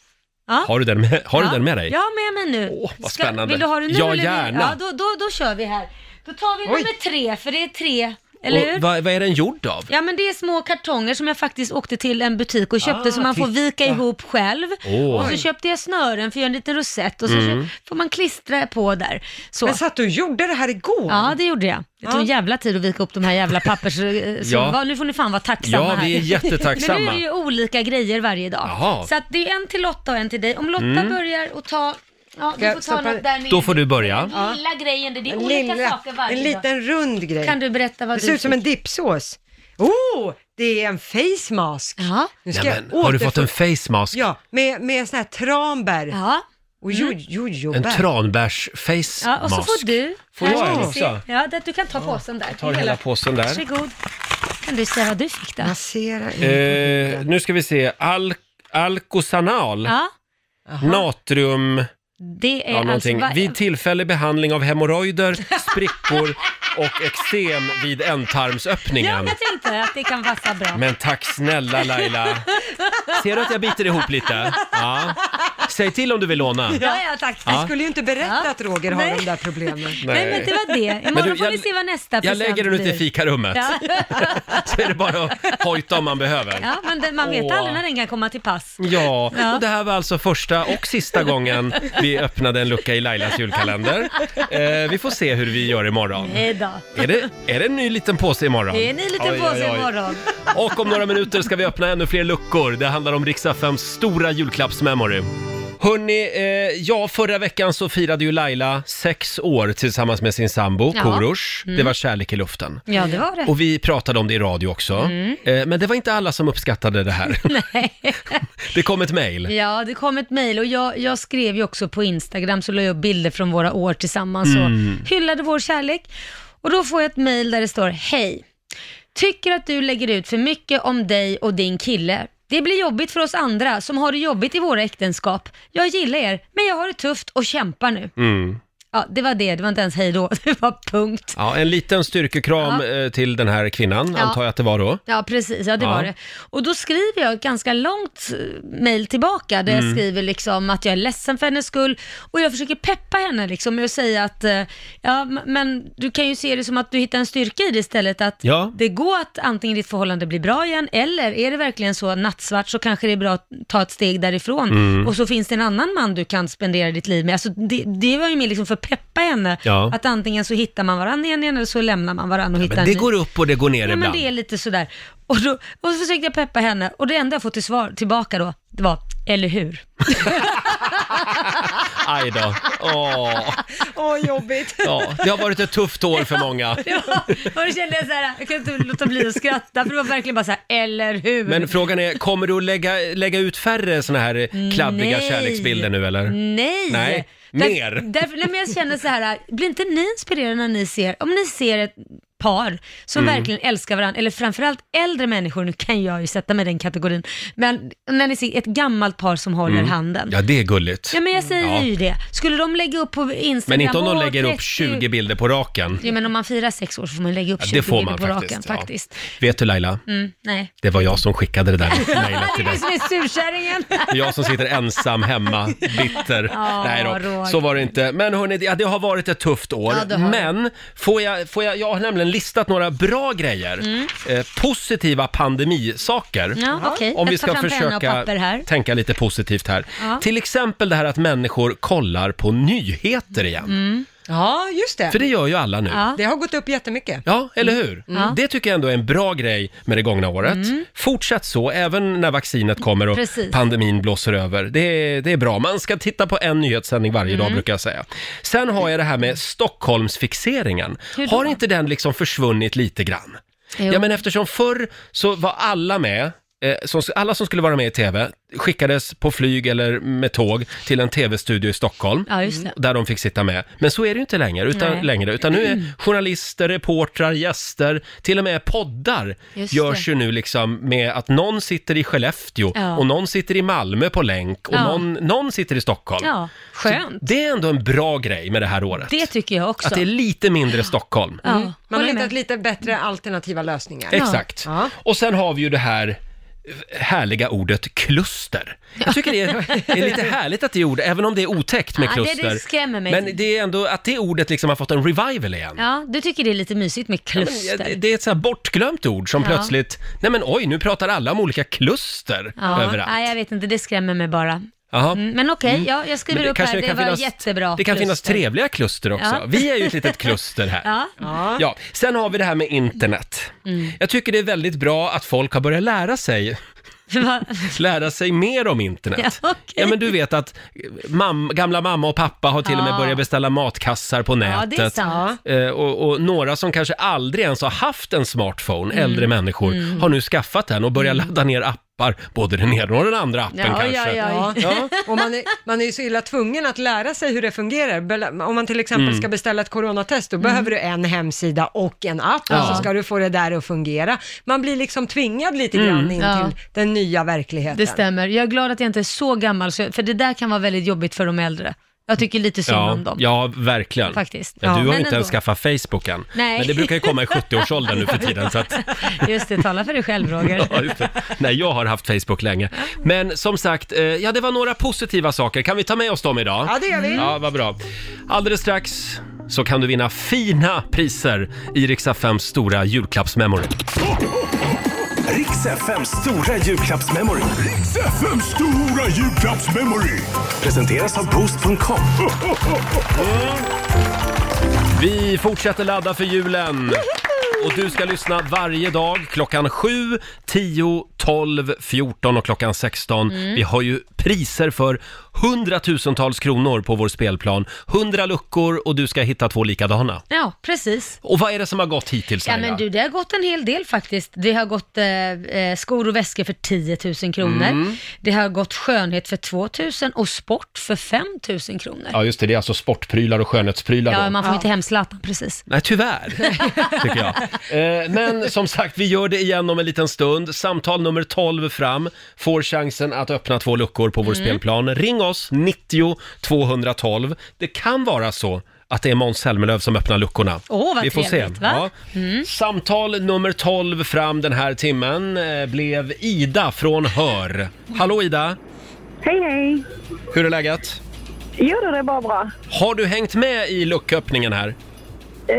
[SPEAKER 1] Har du den med, har
[SPEAKER 4] ja.
[SPEAKER 1] du den med dig?
[SPEAKER 4] Jag har med mig nu.
[SPEAKER 1] Åh, vad spännande.
[SPEAKER 4] vill du ha den nu?
[SPEAKER 1] Ja,
[SPEAKER 4] eller vill-
[SPEAKER 1] gärna.
[SPEAKER 4] Ja, då, då, då kör vi här. Då tar vi
[SPEAKER 2] Oj.
[SPEAKER 4] nummer tre, för det är tre eller hur?
[SPEAKER 1] Och vad, vad är den gjord av?
[SPEAKER 4] Ja men det är små kartonger som jag faktiskt åkte till en butik och köpte
[SPEAKER 1] Ah,
[SPEAKER 4] som man får
[SPEAKER 1] titta.
[SPEAKER 4] vika ihop själv.
[SPEAKER 1] Åh. Mm.
[SPEAKER 4] Och så köpte jag snören för att göra en liten rosett och så köp- får man klistra på där. Så.
[SPEAKER 2] Men satt du och gjorde det här igår?
[SPEAKER 4] Ja, det gjorde jag. Det tog en
[SPEAKER 2] Ja.
[SPEAKER 4] jävla tid att vika upp de här jävla pappers... eh, så
[SPEAKER 1] Ja.
[SPEAKER 4] vad- Nu får ni fan vara tacksamma
[SPEAKER 1] Ja,
[SPEAKER 4] här.
[SPEAKER 1] vi är jättetacksamma.
[SPEAKER 4] Men nu är det ju olika grejer varje dag.
[SPEAKER 1] Jaha. Mm.
[SPEAKER 4] Så att det är en till Lotta och en till dig. Om Lotta börjar och ta... Ja, du
[SPEAKER 2] Jag
[SPEAKER 4] får ta
[SPEAKER 2] stoppar-
[SPEAKER 4] något där nere.
[SPEAKER 1] Då får du börja.
[SPEAKER 4] Den lilla grejen, det är
[SPEAKER 2] En,
[SPEAKER 4] olika
[SPEAKER 2] lilla,
[SPEAKER 4] saker varje
[SPEAKER 2] en
[SPEAKER 4] dag.
[SPEAKER 2] liten rund grej.
[SPEAKER 4] Kan du berätta vad
[SPEAKER 2] det
[SPEAKER 4] du
[SPEAKER 2] ser ut som
[SPEAKER 4] fick?
[SPEAKER 2] en dipsås. Oh, det är en face mask.
[SPEAKER 4] Ja.
[SPEAKER 2] Nu ska
[SPEAKER 1] Nämen,
[SPEAKER 2] jag
[SPEAKER 1] har du
[SPEAKER 2] återfå-
[SPEAKER 1] fått en face mask?
[SPEAKER 2] Ja, med, med sån här tranbär
[SPEAKER 4] Ja.
[SPEAKER 2] och jo- jojobär.
[SPEAKER 1] En tranbärs-face
[SPEAKER 4] Ja, och så
[SPEAKER 1] mask?
[SPEAKER 4] får du.
[SPEAKER 1] Får
[SPEAKER 4] Här
[SPEAKER 1] jag
[SPEAKER 4] ska
[SPEAKER 1] en
[SPEAKER 4] vi
[SPEAKER 1] också?
[SPEAKER 4] se. Ja, det, du kan ta påsen där. Jag
[SPEAKER 1] tar hela påsen där.
[SPEAKER 4] Varsågod. Kan du säga vad du fick då?
[SPEAKER 2] Massera in.
[SPEAKER 1] Eh, nu ska vi se. Al Alcosanal,
[SPEAKER 4] Ja,
[SPEAKER 1] natrium,
[SPEAKER 4] det är
[SPEAKER 1] ja, någonting.
[SPEAKER 4] alltså... vad-
[SPEAKER 1] Vid tillfällig behandling av hemorrojder, sprickor och eksem vid
[SPEAKER 4] Ja,
[SPEAKER 1] ändtarmsöppningen.
[SPEAKER 4] men jag tänkte att det kan passa bra.
[SPEAKER 1] Men tack snälla Laila. Ser du att jag biter ihop lite? Ja. Säg till om du vill låna.
[SPEAKER 4] Ja, ja, tack.
[SPEAKER 2] Jag skulle ju inte berätta att Roger har
[SPEAKER 4] Nej.
[SPEAKER 2] de där problemen.
[SPEAKER 4] Nej, men det var det. Imorgon
[SPEAKER 1] du,
[SPEAKER 4] får
[SPEAKER 1] jag-
[SPEAKER 4] vi se vad nästa
[SPEAKER 1] Jag lägger den ute i
[SPEAKER 4] blir.
[SPEAKER 1] fikarummet.
[SPEAKER 4] Ja,
[SPEAKER 1] Så är det bara att hojta om man behöver.
[SPEAKER 4] ja men det, man vet
[SPEAKER 1] Åh.
[SPEAKER 4] aldrig när den kan komma till pass.
[SPEAKER 1] Ja, och det här var alltså första och sista gången vi öppnade en lucka i Lailas julkalender. Eh, vi får se hur vi gör imorgon.
[SPEAKER 4] Nej då.
[SPEAKER 1] Är det, är det en ny liten påse imorgon?
[SPEAKER 4] Det är en ny liten
[SPEAKER 1] Oj,
[SPEAKER 4] påse
[SPEAKER 1] oj, oj.
[SPEAKER 4] imorgon.
[SPEAKER 1] Och om några minuter ska vi öppna ännu fler luckor. Det handlar om Rix FMs stora julklappsmemory. Hörni, eh, ja förra veckan så firade ju Laila sex år tillsammans med sin sambo
[SPEAKER 4] Ja. Mm.
[SPEAKER 1] Korosh. Det var kärlek i luften.
[SPEAKER 4] Ja, det var det.
[SPEAKER 1] Och vi pratade om det i radio också.
[SPEAKER 4] Mm.
[SPEAKER 1] Eh, men det var inte alla som uppskattade det här. det kom ett mejl.
[SPEAKER 4] Ja, det kom ett mejl och jag, jag skrev ju också på Instagram, så la jag upp bilder från våra år tillsammans och hyllade vår kärlek. Och då får jag ett mejl där det står, hej, tycker att du lägger ut för mycket om dig och din kille. Det blir jobbigt för oss andra som har det jobbigt i våra äktenskap. Jag gillar er, men jag har det tufft och kämpar nu. Ja, det var det, det var inte ens hej då, det var punkt.
[SPEAKER 1] Ja, en liten styrkekram eh, till den här kvinnan,
[SPEAKER 4] Ja.
[SPEAKER 1] antar jag att det var då.
[SPEAKER 4] Ja, precis. Ja, det
[SPEAKER 1] Ja.
[SPEAKER 4] var det. Och då skriver jag ett ganska långt eh, mejl tillbaka där
[SPEAKER 1] Mm.
[SPEAKER 4] jag skriver liksom att jag är ledsen för hennes skull och jag försöker peppa henne liksom med att säga att eh, ja, m- men du kan ju se det som att du hittar en styrka i det istället. Att
[SPEAKER 1] Ja.
[SPEAKER 4] det går att antingen ditt förhållande blir bra igen eller är det verkligen så nattsvart så kanske det är bra att ta ett steg därifrån
[SPEAKER 1] Mm.
[SPEAKER 4] och så finns det en annan man du kan spendera ditt liv med. Alltså, det, det var ju mer liksom för att peppa henne.
[SPEAKER 1] Ja.
[SPEAKER 4] Att antingen så hittar man varandra igen eller så lämnar man varandra och hittar
[SPEAKER 1] Men
[SPEAKER 4] en
[SPEAKER 1] det
[SPEAKER 4] ny.
[SPEAKER 1] går upp och det går ner
[SPEAKER 4] Ja, men
[SPEAKER 1] ibland.
[SPEAKER 4] det är lite sådär. Och, då, och så försökte jag peppa henne och det enda jag fått till svar tillbaka då, det var eller hur?
[SPEAKER 1] Aj då. Åh.
[SPEAKER 2] Åh, jobbigt.
[SPEAKER 1] Ja, det har varit ett tufft år för många.
[SPEAKER 4] Det var, och då kände jag såhär, jag kunde inte låta bli att skratta för det var verkligen bara såhär, eller hur?
[SPEAKER 1] Men frågan är, kommer du att lägga, lägga ut färre såna här kladdiga
[SPEAKER 4] Nej. Mm.
[SPEAKER 1] kärleksbilder nu eller?
[SPEAKER 4] Nej!
[SPEAKER 1] Nej,
[SPEAKER 4] Där-
[SPEAKER 1] mer.
[SPEAKER 4] därför, nej men jag känner så här, blir inte ni inspirerade när ni ser, om ni ser ett par som
[SPEAKER 1] Mm.
[SPEAKER 4] verkligen älskar varandra, eller framförallt äldre människor, nu kan jag ju sätta mig i den kategorin, men när ni ser ett gammalt par som håller
[SPEAKER 1] Mm.
[SPEAKER 4] handen.
[SPEAKER 1] Ja, det är gulligt.
[SPEAKER 4] Ja men jag säger
[SPEAKER 1] Ja.
[SPEAKER 4] ju det. Skulle de lägga upp på Instagram...
[SPEAKER 1] Men inte om de
[SPEAKER 4] "Åh,
[SPEAKER 1] lägger upp
[SPEAKER 4] 30
[SPEAKER 1] 20 bilder på raken.
[SPEAKER 4] Ja men om man firar sex år så får man lägga upp
[SPEAKER 1] Ja,
[SPEAKER 4] 20
[SPEAKER 1] det får man
[SPEAKER 4] bilder på
[SPEAKER 1] faktiskt.
[SPEAKER 4] raken
[SPEAKER 1] ja.
[SPEAKER 4] faktiskt.
[SPEAKER 1] Vet du Laila,
[SPEAKER 4] Mm, nej.
[SPEAKER 1] det var jag som skickade det där mejlet till
[SPEAKER 4] Det
[SPEAKER 1] dig.
[SPEAKER 4] är som är surkärringen.
[SPEAKER 1] Jag som sitter ensam hemma, bitter.
[SPEAKER 4] Ja,
[SPEAKER 1] Nej då,
[SPEAKER 4] Roger.
[SPEAKER 1] så var det inte. Men hörni, det- ja, det har varit ett tufft år.
[SPEAKER 4] Ja, det har det.
[SPEAKER 1] men får jag, får jag, jag har nämligen listat några bra grejer. Eh, positiva pandemisaker.
[SPEAKER 4] Mm. Ja, okej.
[SPEAKER 1] Om vi
[SPEAKER 4] Jag tar
[SPEAKER 1] ska
[SPEAKER 4] fram penna och
[SPEAKER 1] försöka
[SPEAKER 4] papper här.
[SPEAKER 1] tänka lite positivt här.
[SPEAKER 4] Ja.
[SPEAKER 1] Till exempel det här att människor kollar på nyheter igen.
[SPEAKER 2] Ja, just det.
[SPEAKER 1] För det gör ju alla nu.
[SPEAKER 4] Mm. Ja.
[SPEAKER 2] Det har gått upp jättemycket.
[SPEAKER 1] Ja,
[SPEAKER 4] Mm.
[SPEAKER 1] eller hur? Det tycker jag ändå är en bra grej med det gångna året. Fortsätt så, även när vaccinet kommer och
[SPEAKER 4] Mm. Precis.
[SPEAKER 1] pandemin blåser över. Det är, det är bra. Man ska titta på en nyhetssändning varje
[SPEAKER 4] Mm.
[SPEAKER 1] dag, brukar jag säga. Sen har jag det här med Stockholmsfixeringen.
[SPEAKER 4] Hur då?
[SPEAKER 1] Har inte den liksom försvunnit lite grann?
[SPEAKER 4] Jo.
[SPEAKER 1] Ja, men eftersom förr så var alla med, eh, som, alla som skulle vara med i TV skickades på flyg eller med tåg till en TV-studio i Stockholm
[SPEAKER 4] Ja, just det.
[SPEAKER 1] där de fick sitta med. Men så är det ju inte längre, utan,
[SPEAKER 4] Nej.
[SPEAKER 1] längre, utan nu är journalister, reportrar, gäster, till och med poddar
[SPEAKER 4] Just
[SPEAKER 1] görs
[SPEAKER 4] det.
[SPEAKER 1] ju nu liksom med att någon sitter i Skellefteå
[SPEAKER 4] Ja.
[SPEAKER 1] och någon sitter i Malmö på länk och
[SPEAKER 4] Ja.
[SPEAKER 1] någon, någon sitter i Stockholm.
[SPEAKER 4] Ja, skönt.
[SPEAKER 1] Det är ändå en bra grej med det här året.
[SPEAKER 4] Det tycker jag också.
[SPEAKER 1] Att det är Mm. lite mindre Stockholm.
[SPEAKER 4] Ja,
[SPEAKER 2] Man har
[SPEAKER 4] håller
[SPEAKER 2] hittat
[SPEAKER 4] med.
[SPEAKER 2] lite bättre alternativa lösningar.
[SPEAKER 1] Exakt.
[SPEAKER 2] Ja.
[SPEAKER 1] Och sen har vi ju det här härliga ordet kluster. Jag tycker det är, är lite härligt att det är ord, även om det är otäckt med
[SPEAKER 4] Ja, det- det
[SPEAKER 1] kluster.
[SPEAKER 4] skrämmer mig.
[SPEAKER 1] Men det är ändå att det ordet liksom har fått en revival igen.
[SPEAKER 4] Ja, du tycker det är lite mysigt med
[SPEAKER 1] Men det-
[SPEAKER 4] kluster.
[SPEAKER 1] Det är ett så här bortglömt ord som
[SPEAKER 4] Ja.
[SPEAKER 1] plötsligt, nej men oj, nu pratar alla om olika kluster
[SPEAKER 4] Ja,
[SPEAKER 1] överallt.
[SPEAKER 4] nej, jag vet inte, det skrämmer mig bara.
[SPEAKER 1] Jaha.
[SPEAKER 4] Mm, Men okej, ja, jag skriver
[SPEAKER 1] Men
[SPEAKER 4] upp
[SPEAKER 1] kanske
[SPEAKER 4] här, det, var jättebra.
[SPEAKER 1] Det kan finnas
[SPEAKER 4] kluster.
[SPEAKER 1] trevliga kluster också.
[SPEAKER 4] Ja.
[SPEAKER 1] Vi är ju ett litet kluster här.
[SPEAKER 4] Ja. Mm.
[SPEAKER 1] Ja, sen har vi det här med internet. Jag tycker det är väldigt bra att folk har börjat lära sig,
[SPEAKER 4] Va?
[SPEAKER 1] lära sig mer om internet.
[SPEAKER 4] Ja, okej.
[SPEAKER 1] men du vet att eh, mam, gamla mamma och pappa har till och med
[SPEAKER 4] Ja.
[SPEAKER 1] börjat beställa matkassar på
[SPEAKER 4] ja,
[SPEAKER 1] nätet.
[SPEAKER 4] det är sant.
[SPEAKER 1] Eh, och, och några som kanske aldrig ens har haft en smartphone,
[SPEAKER 4] Mm.
[SPEAKER 1] äldre människor, har nu skaffat den och börjar ladda ner appar, både den ena och den andra appen
[SPEAKER 4] Ja,
[SPEAKER 1] kanske.
[SPEAKER 4] ja, ja.
[SPEAKER 1] Ja.
[SPEAKER 2] Och man är, man är ju så illa tvungen att lära sig hur det fungerar. Bel- Om man till exempel
[SPEAKER 1] Mm.
[SPEAKER 2] ska beställa ett coronatest, då
[SPEAKER 4] Mm.
[SPEAKER 2] behöver du en hemsida och en app, och så ska du få det där att fungera. Man blir liksom tvingad lite
[SPEAKER 1] Mm.
[SPEAKER 2] grann in
[SPEAKER 4] Ja.
[SPEAKER 2] till den nya verkligheten.
[SPEAKER 4] Det stämmer. Jag är glad att jag inte är så gammal, så- för det där kan vara väldigt jobbigt för de äldre. Jag tycker lite synd
[SPEAKER 1] Ja,
[SPEAKER 4] om dem.
[SPEAKER 1] ja, verkligen.
[SPEAKER 4] Faktiskt.
[SPEAKER 1] Ja,
[SPEAKER 4] Ja,
[SPEAKER 1] du har
[SPEAKER 4] men
[SPEAKER 1] ju inte ens
[SPEAKER 4] ändå.
[SPEAKER 1] skaffat Facebook än.
[SPEAKER 4] Nej.
[SPEAKER 1] Men det brukar ju komma i 70-årsåldern nu för tiden. Så att,
[SPEAKER 4] Just det, tala för dig själv Roger.
[SPEAKER 1] ja, just det. Nej, jag har haft Facebook länge. Men som sagt, eh, ja det var några positiva saker. Kan vi ta med oss dem idag? Mm.
[SPEAKER 2] Ja, det gör vi.
[SPEAKER 1] Ja, vad bra. Alldeles strax så kan du vinna fina priser i Rix FMs stora julklappsmemory.
[SPEAKER 3] Riks FMs stora julklappsmemory. Riks FMs stora julklappsmemory. Presenteras av Boost.com.
[SPEAKER 1] Vi fortsätter ladda för julen. Och du ska lyssna varje dag klockan 7, 10, 12, 14 och klockan 16.
[SPEAKER 2] Mm.
[SPEAKER 1] Vi har ju priser för hundratusentals kronor på vår spelplan. 100 luckor och du ska hitta två likadana.
[SPEAKER 4] Ja, precis.
[SPEAKER 1] Och vad är det som har gått hittills
[SPEAKER 4] Ja,
[SPEAKER 1] Laila?
[SPEAKER 4] men du, det har gått en hel del faktiskt. Det har gått eh, eh, skor och väskor för 10 000 kronor.
[SPEAKER 1] Mm.
[SPEAKER 4] Det har gått skönhet för 2 000 och sport för 5 000 kronor. Ja,
[SPEAKER 1] Ja just det, det är alltså sportprylar och skönhetsprylar då.
[SPEAKER 4] man får inte hem Zlatan precis.
[SPEAKER 1] Nej, tyvärr, tycker jag. Eh, Men som sagt, vi gör det igen om en liten stund. Samtal nummer 12 fram får chansen att öppna två luckor på vår
[SPEAKER 4] Mm.
[SPEAKER 1] spelplan. Ring oss, 90 212. Det kan vara så att det är Måns Zelmerlöw som öppnar luckorna.
[SPEAKER 4] Åh, vad
[SPEAKER 1] vi får
[SPEAKER 4] trevligt,
[SPEAKER 1] se.
[SPEAKER 4] va? Mm.
[SPEAKER 1] Samtal nummer 12 fram den här timmen eh, blev Ida från Hör. Hallå Ida,
[SPEAKER 6] Hej, hej.
[SPEAKER 1] hur är läget?
[SPEAKER 6] Jo, då, det är bara bra.
[SPEAKER 1] Har du hängt med i lucköppningen här?
[SPEAKER 6] Eh,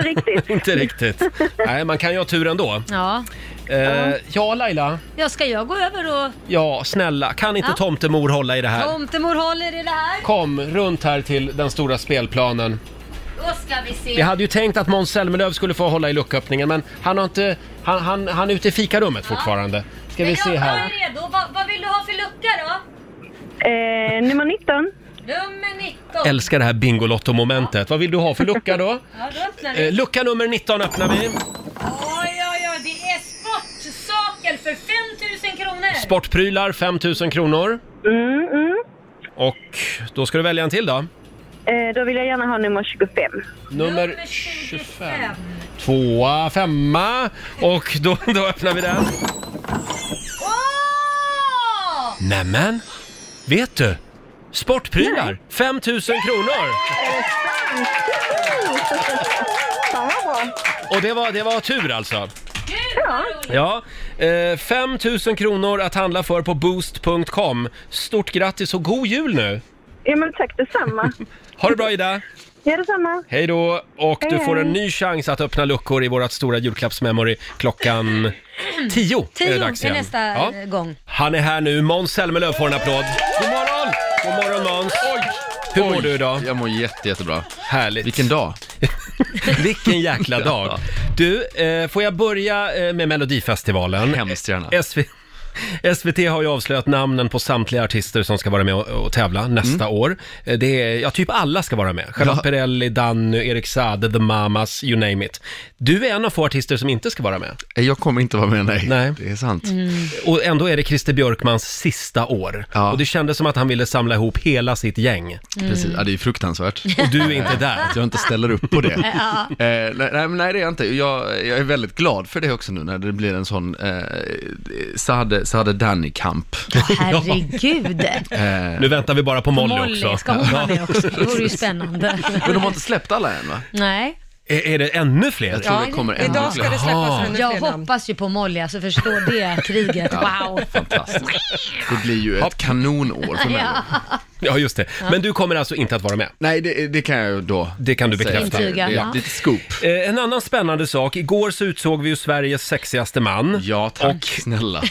[SPEAKER 6] riktigt.
[SPEAKER 1] Inte riktigt. Nej, man kan ju ha tur ändå.
[SPEAKER 4] Ja.
[SPEAKER 1] Eh, ja, Laila.
[SPEAKER 4] ja, ska jag gå över och...
[SPEAKER 1] Ja, snälla. Kan inte
[SPEAKER 4] Ja.
[SPEAKER 1] tomtemor hålla i det här?
[SPEAKER 4] Tomtemor håller i det här.
[SPEAKER 1] Kom runt här till den stora spelplanen.
[SPEAKER 4] Då ska vi se.
[SPEAKER 1] Jag hade ju tänkt att Måns Zelmerlöw skulle få hålla i lucköppningen, men han har inte... Han, han, han är ute i fikarummet fortfarande. Ska vi se här.
[SPEAKER 4] redo. Vad, vill du ha för lucka då?
[SPEAKER 6] Eh, nummer 19.
[SPEAKER 4] Nummer 19.
[SPEAKER 1] Älskar det här Bingolotto-momentet. Vad vill du ha för lucka då?
[SPEAKER 4] Ja, då öppnar
[SPEAKER 1] Eh, lucka nummer 19 öppnar vi.
[SPEAKER 4] Oj, oj, oj. Det är sportsaker för 5000 kronor.
[SPEAKER 1] Sportprylar, 5 000 kronor.
[SPEAKER 6] Mm, mm.
[SPEAKER 1] Och då ska du välja en till då.
[SPEAKER 6] Eh, då vill jag gärna ha nummer 25.
[SPEAKER 1] Nummer 25. Tvåa, femma. Och då, då öppnar vi den.
[SPEAKER 4] Åh!
[SPEAKER 1] Nämen, vet du? Sportprylar, 5 000 kronor!
[SPEAKER 6] Fan vad bra.
[SPEAKER 1] Och det var, det var tur alltså.
[SPEAKER 4] Gud, vad roligt.
[SPEAKER 1] Ja, eh, 5 000 kronor att handla för på boost.com. Stort grattis och god jul nu!
[SPEAKER 6] Ja, men tack detsamma.
[SPEAKER 1] Ha det bra Ida!
[SPEAKER 6] Ja, detsamma.
[SPEAKER 1] Hej då! Och du
[SPEAKER 6] Hej,
[SPEAKER 1] får en
[SPEAKER 6] hej.
[SPEAKER 1] ny chans att öppna luckor i vårt stora julklappsmemory klockan 10.
[SPEAKER 4] Tio
[SPEAKER 1] det dags
[SPEAKER 4] är
[SPEAKER 1] igen.
[SPEAKER 4] nästa
[SPEAKER 1] Ja.
[SPEAKER 4] eh, gång.
[SPEAKER 1] Han är här nu, Måns Zelmerlöw får en applåd. God morgon! God morgon Måns! Hur mår
[SPEAKER 7] Oj,
[SPEAKER 1] du idag?
[SPEAKER 7] Jag mår jätte, jättebra.
[SPEAKER 1] Härligt.
[SPEAKER 7] Vilken dag.
[SPEAKER 1] Vilken jäkla dag! Du, eh, får jag börja eh, med Melodifestivalen?
[SPEAKER 7] Hemskt gärna.
[SPEAKER 1] SV... SVT har ju avslöjat namnen på samtliga artister som ska vara med och, och tävla nästa år. Eh, Det är, ja, typ alla ska vara med. Charlotte
[SPEAKER 7] Mm. Ja.
[SPEAKER 1] Perrelli, Danny, Erik Saade, The Mamas, you name it. Du är en av få artister som inte ska vara med.
[SPEAKER 7] Eh, Jag kommer inte vara med, nej.
[SPEAKER 1] Nej.
[SPEAKER 7] Det är sant.
[SPEAKER 1] Och ändå är det Christer Björkmans sista år.
[SPEAKER 7] Ja.
[SPEAKER 1] Och det kändes som att han ville samla ihop hela sitt gäng.
[SPEAKER 7] Precis. Ja, det är ju fruktansvärt.
[SPEAKER 1] Och du är inte där.
[SPEAKER 7] Att jag inte ställer upp på det. eh, nej, nej, men nej, det är jag inte. Jag, jag är väldigt glad för det också nu när det blir en sån eh, Sade, Sade Danny-kamp.
[SPEAKER 4] Herregud.
[SPEAKER 7] Eh,
[SPEAKER 1] Nu väntar vi bara på Molly,
[SPEAKER 4] Molly,
[SPEAKER 1] också.
[SPEAKER 4] ska hon vara med också? Det vore ju spännande.
[SPEAKER 7] men de har inte släppt alla än va?
[SPEAKER 4] Nej.
[SPEAKER 1] Är, är det ännu fler?
[SPEAKER 7] Jag tror
[SPEAKER 2] Ja,
[SPEAKER 7] det kommer ännu
[SPEAKER 2] Idag ska
[SPEAKER 7] fler.
[SPEAKER 2] det släppas
[SPEAKER 1] Jaha.
[SPEAKER 2] ännu
[SPEAKER 4] Jag
[SPEAKER 2] fler namn.
[SPEAKER 4] hoppas ju på Molly, alltså förstår det kriget. Wow.
[SPEAKER 7] Fantastiskt. Det blir ju ett kanonår för människor.
[SPEAKER 1] Ja, just det. Men du kommer alltså inte att vara med?
[SPEAKER 7] Nej, det, det kan jag ju då
[SPEAKER 1] Det kan du
[SPEAKER 7] säga.
[SPEAKER 1] bekräfta.
[SPEAKER 4] Intyg. Intyga,
[SPEAKER 7] Det är
[SPEAKER 4] ja.
[SPEAKER 7] Lite scoop.
[SPEAKER 1] Eh, En annan spännande sak. Igår så utsåg vi ju Sveriges sexigaste man.
[SPEAKER 7] Ja, tack snälla.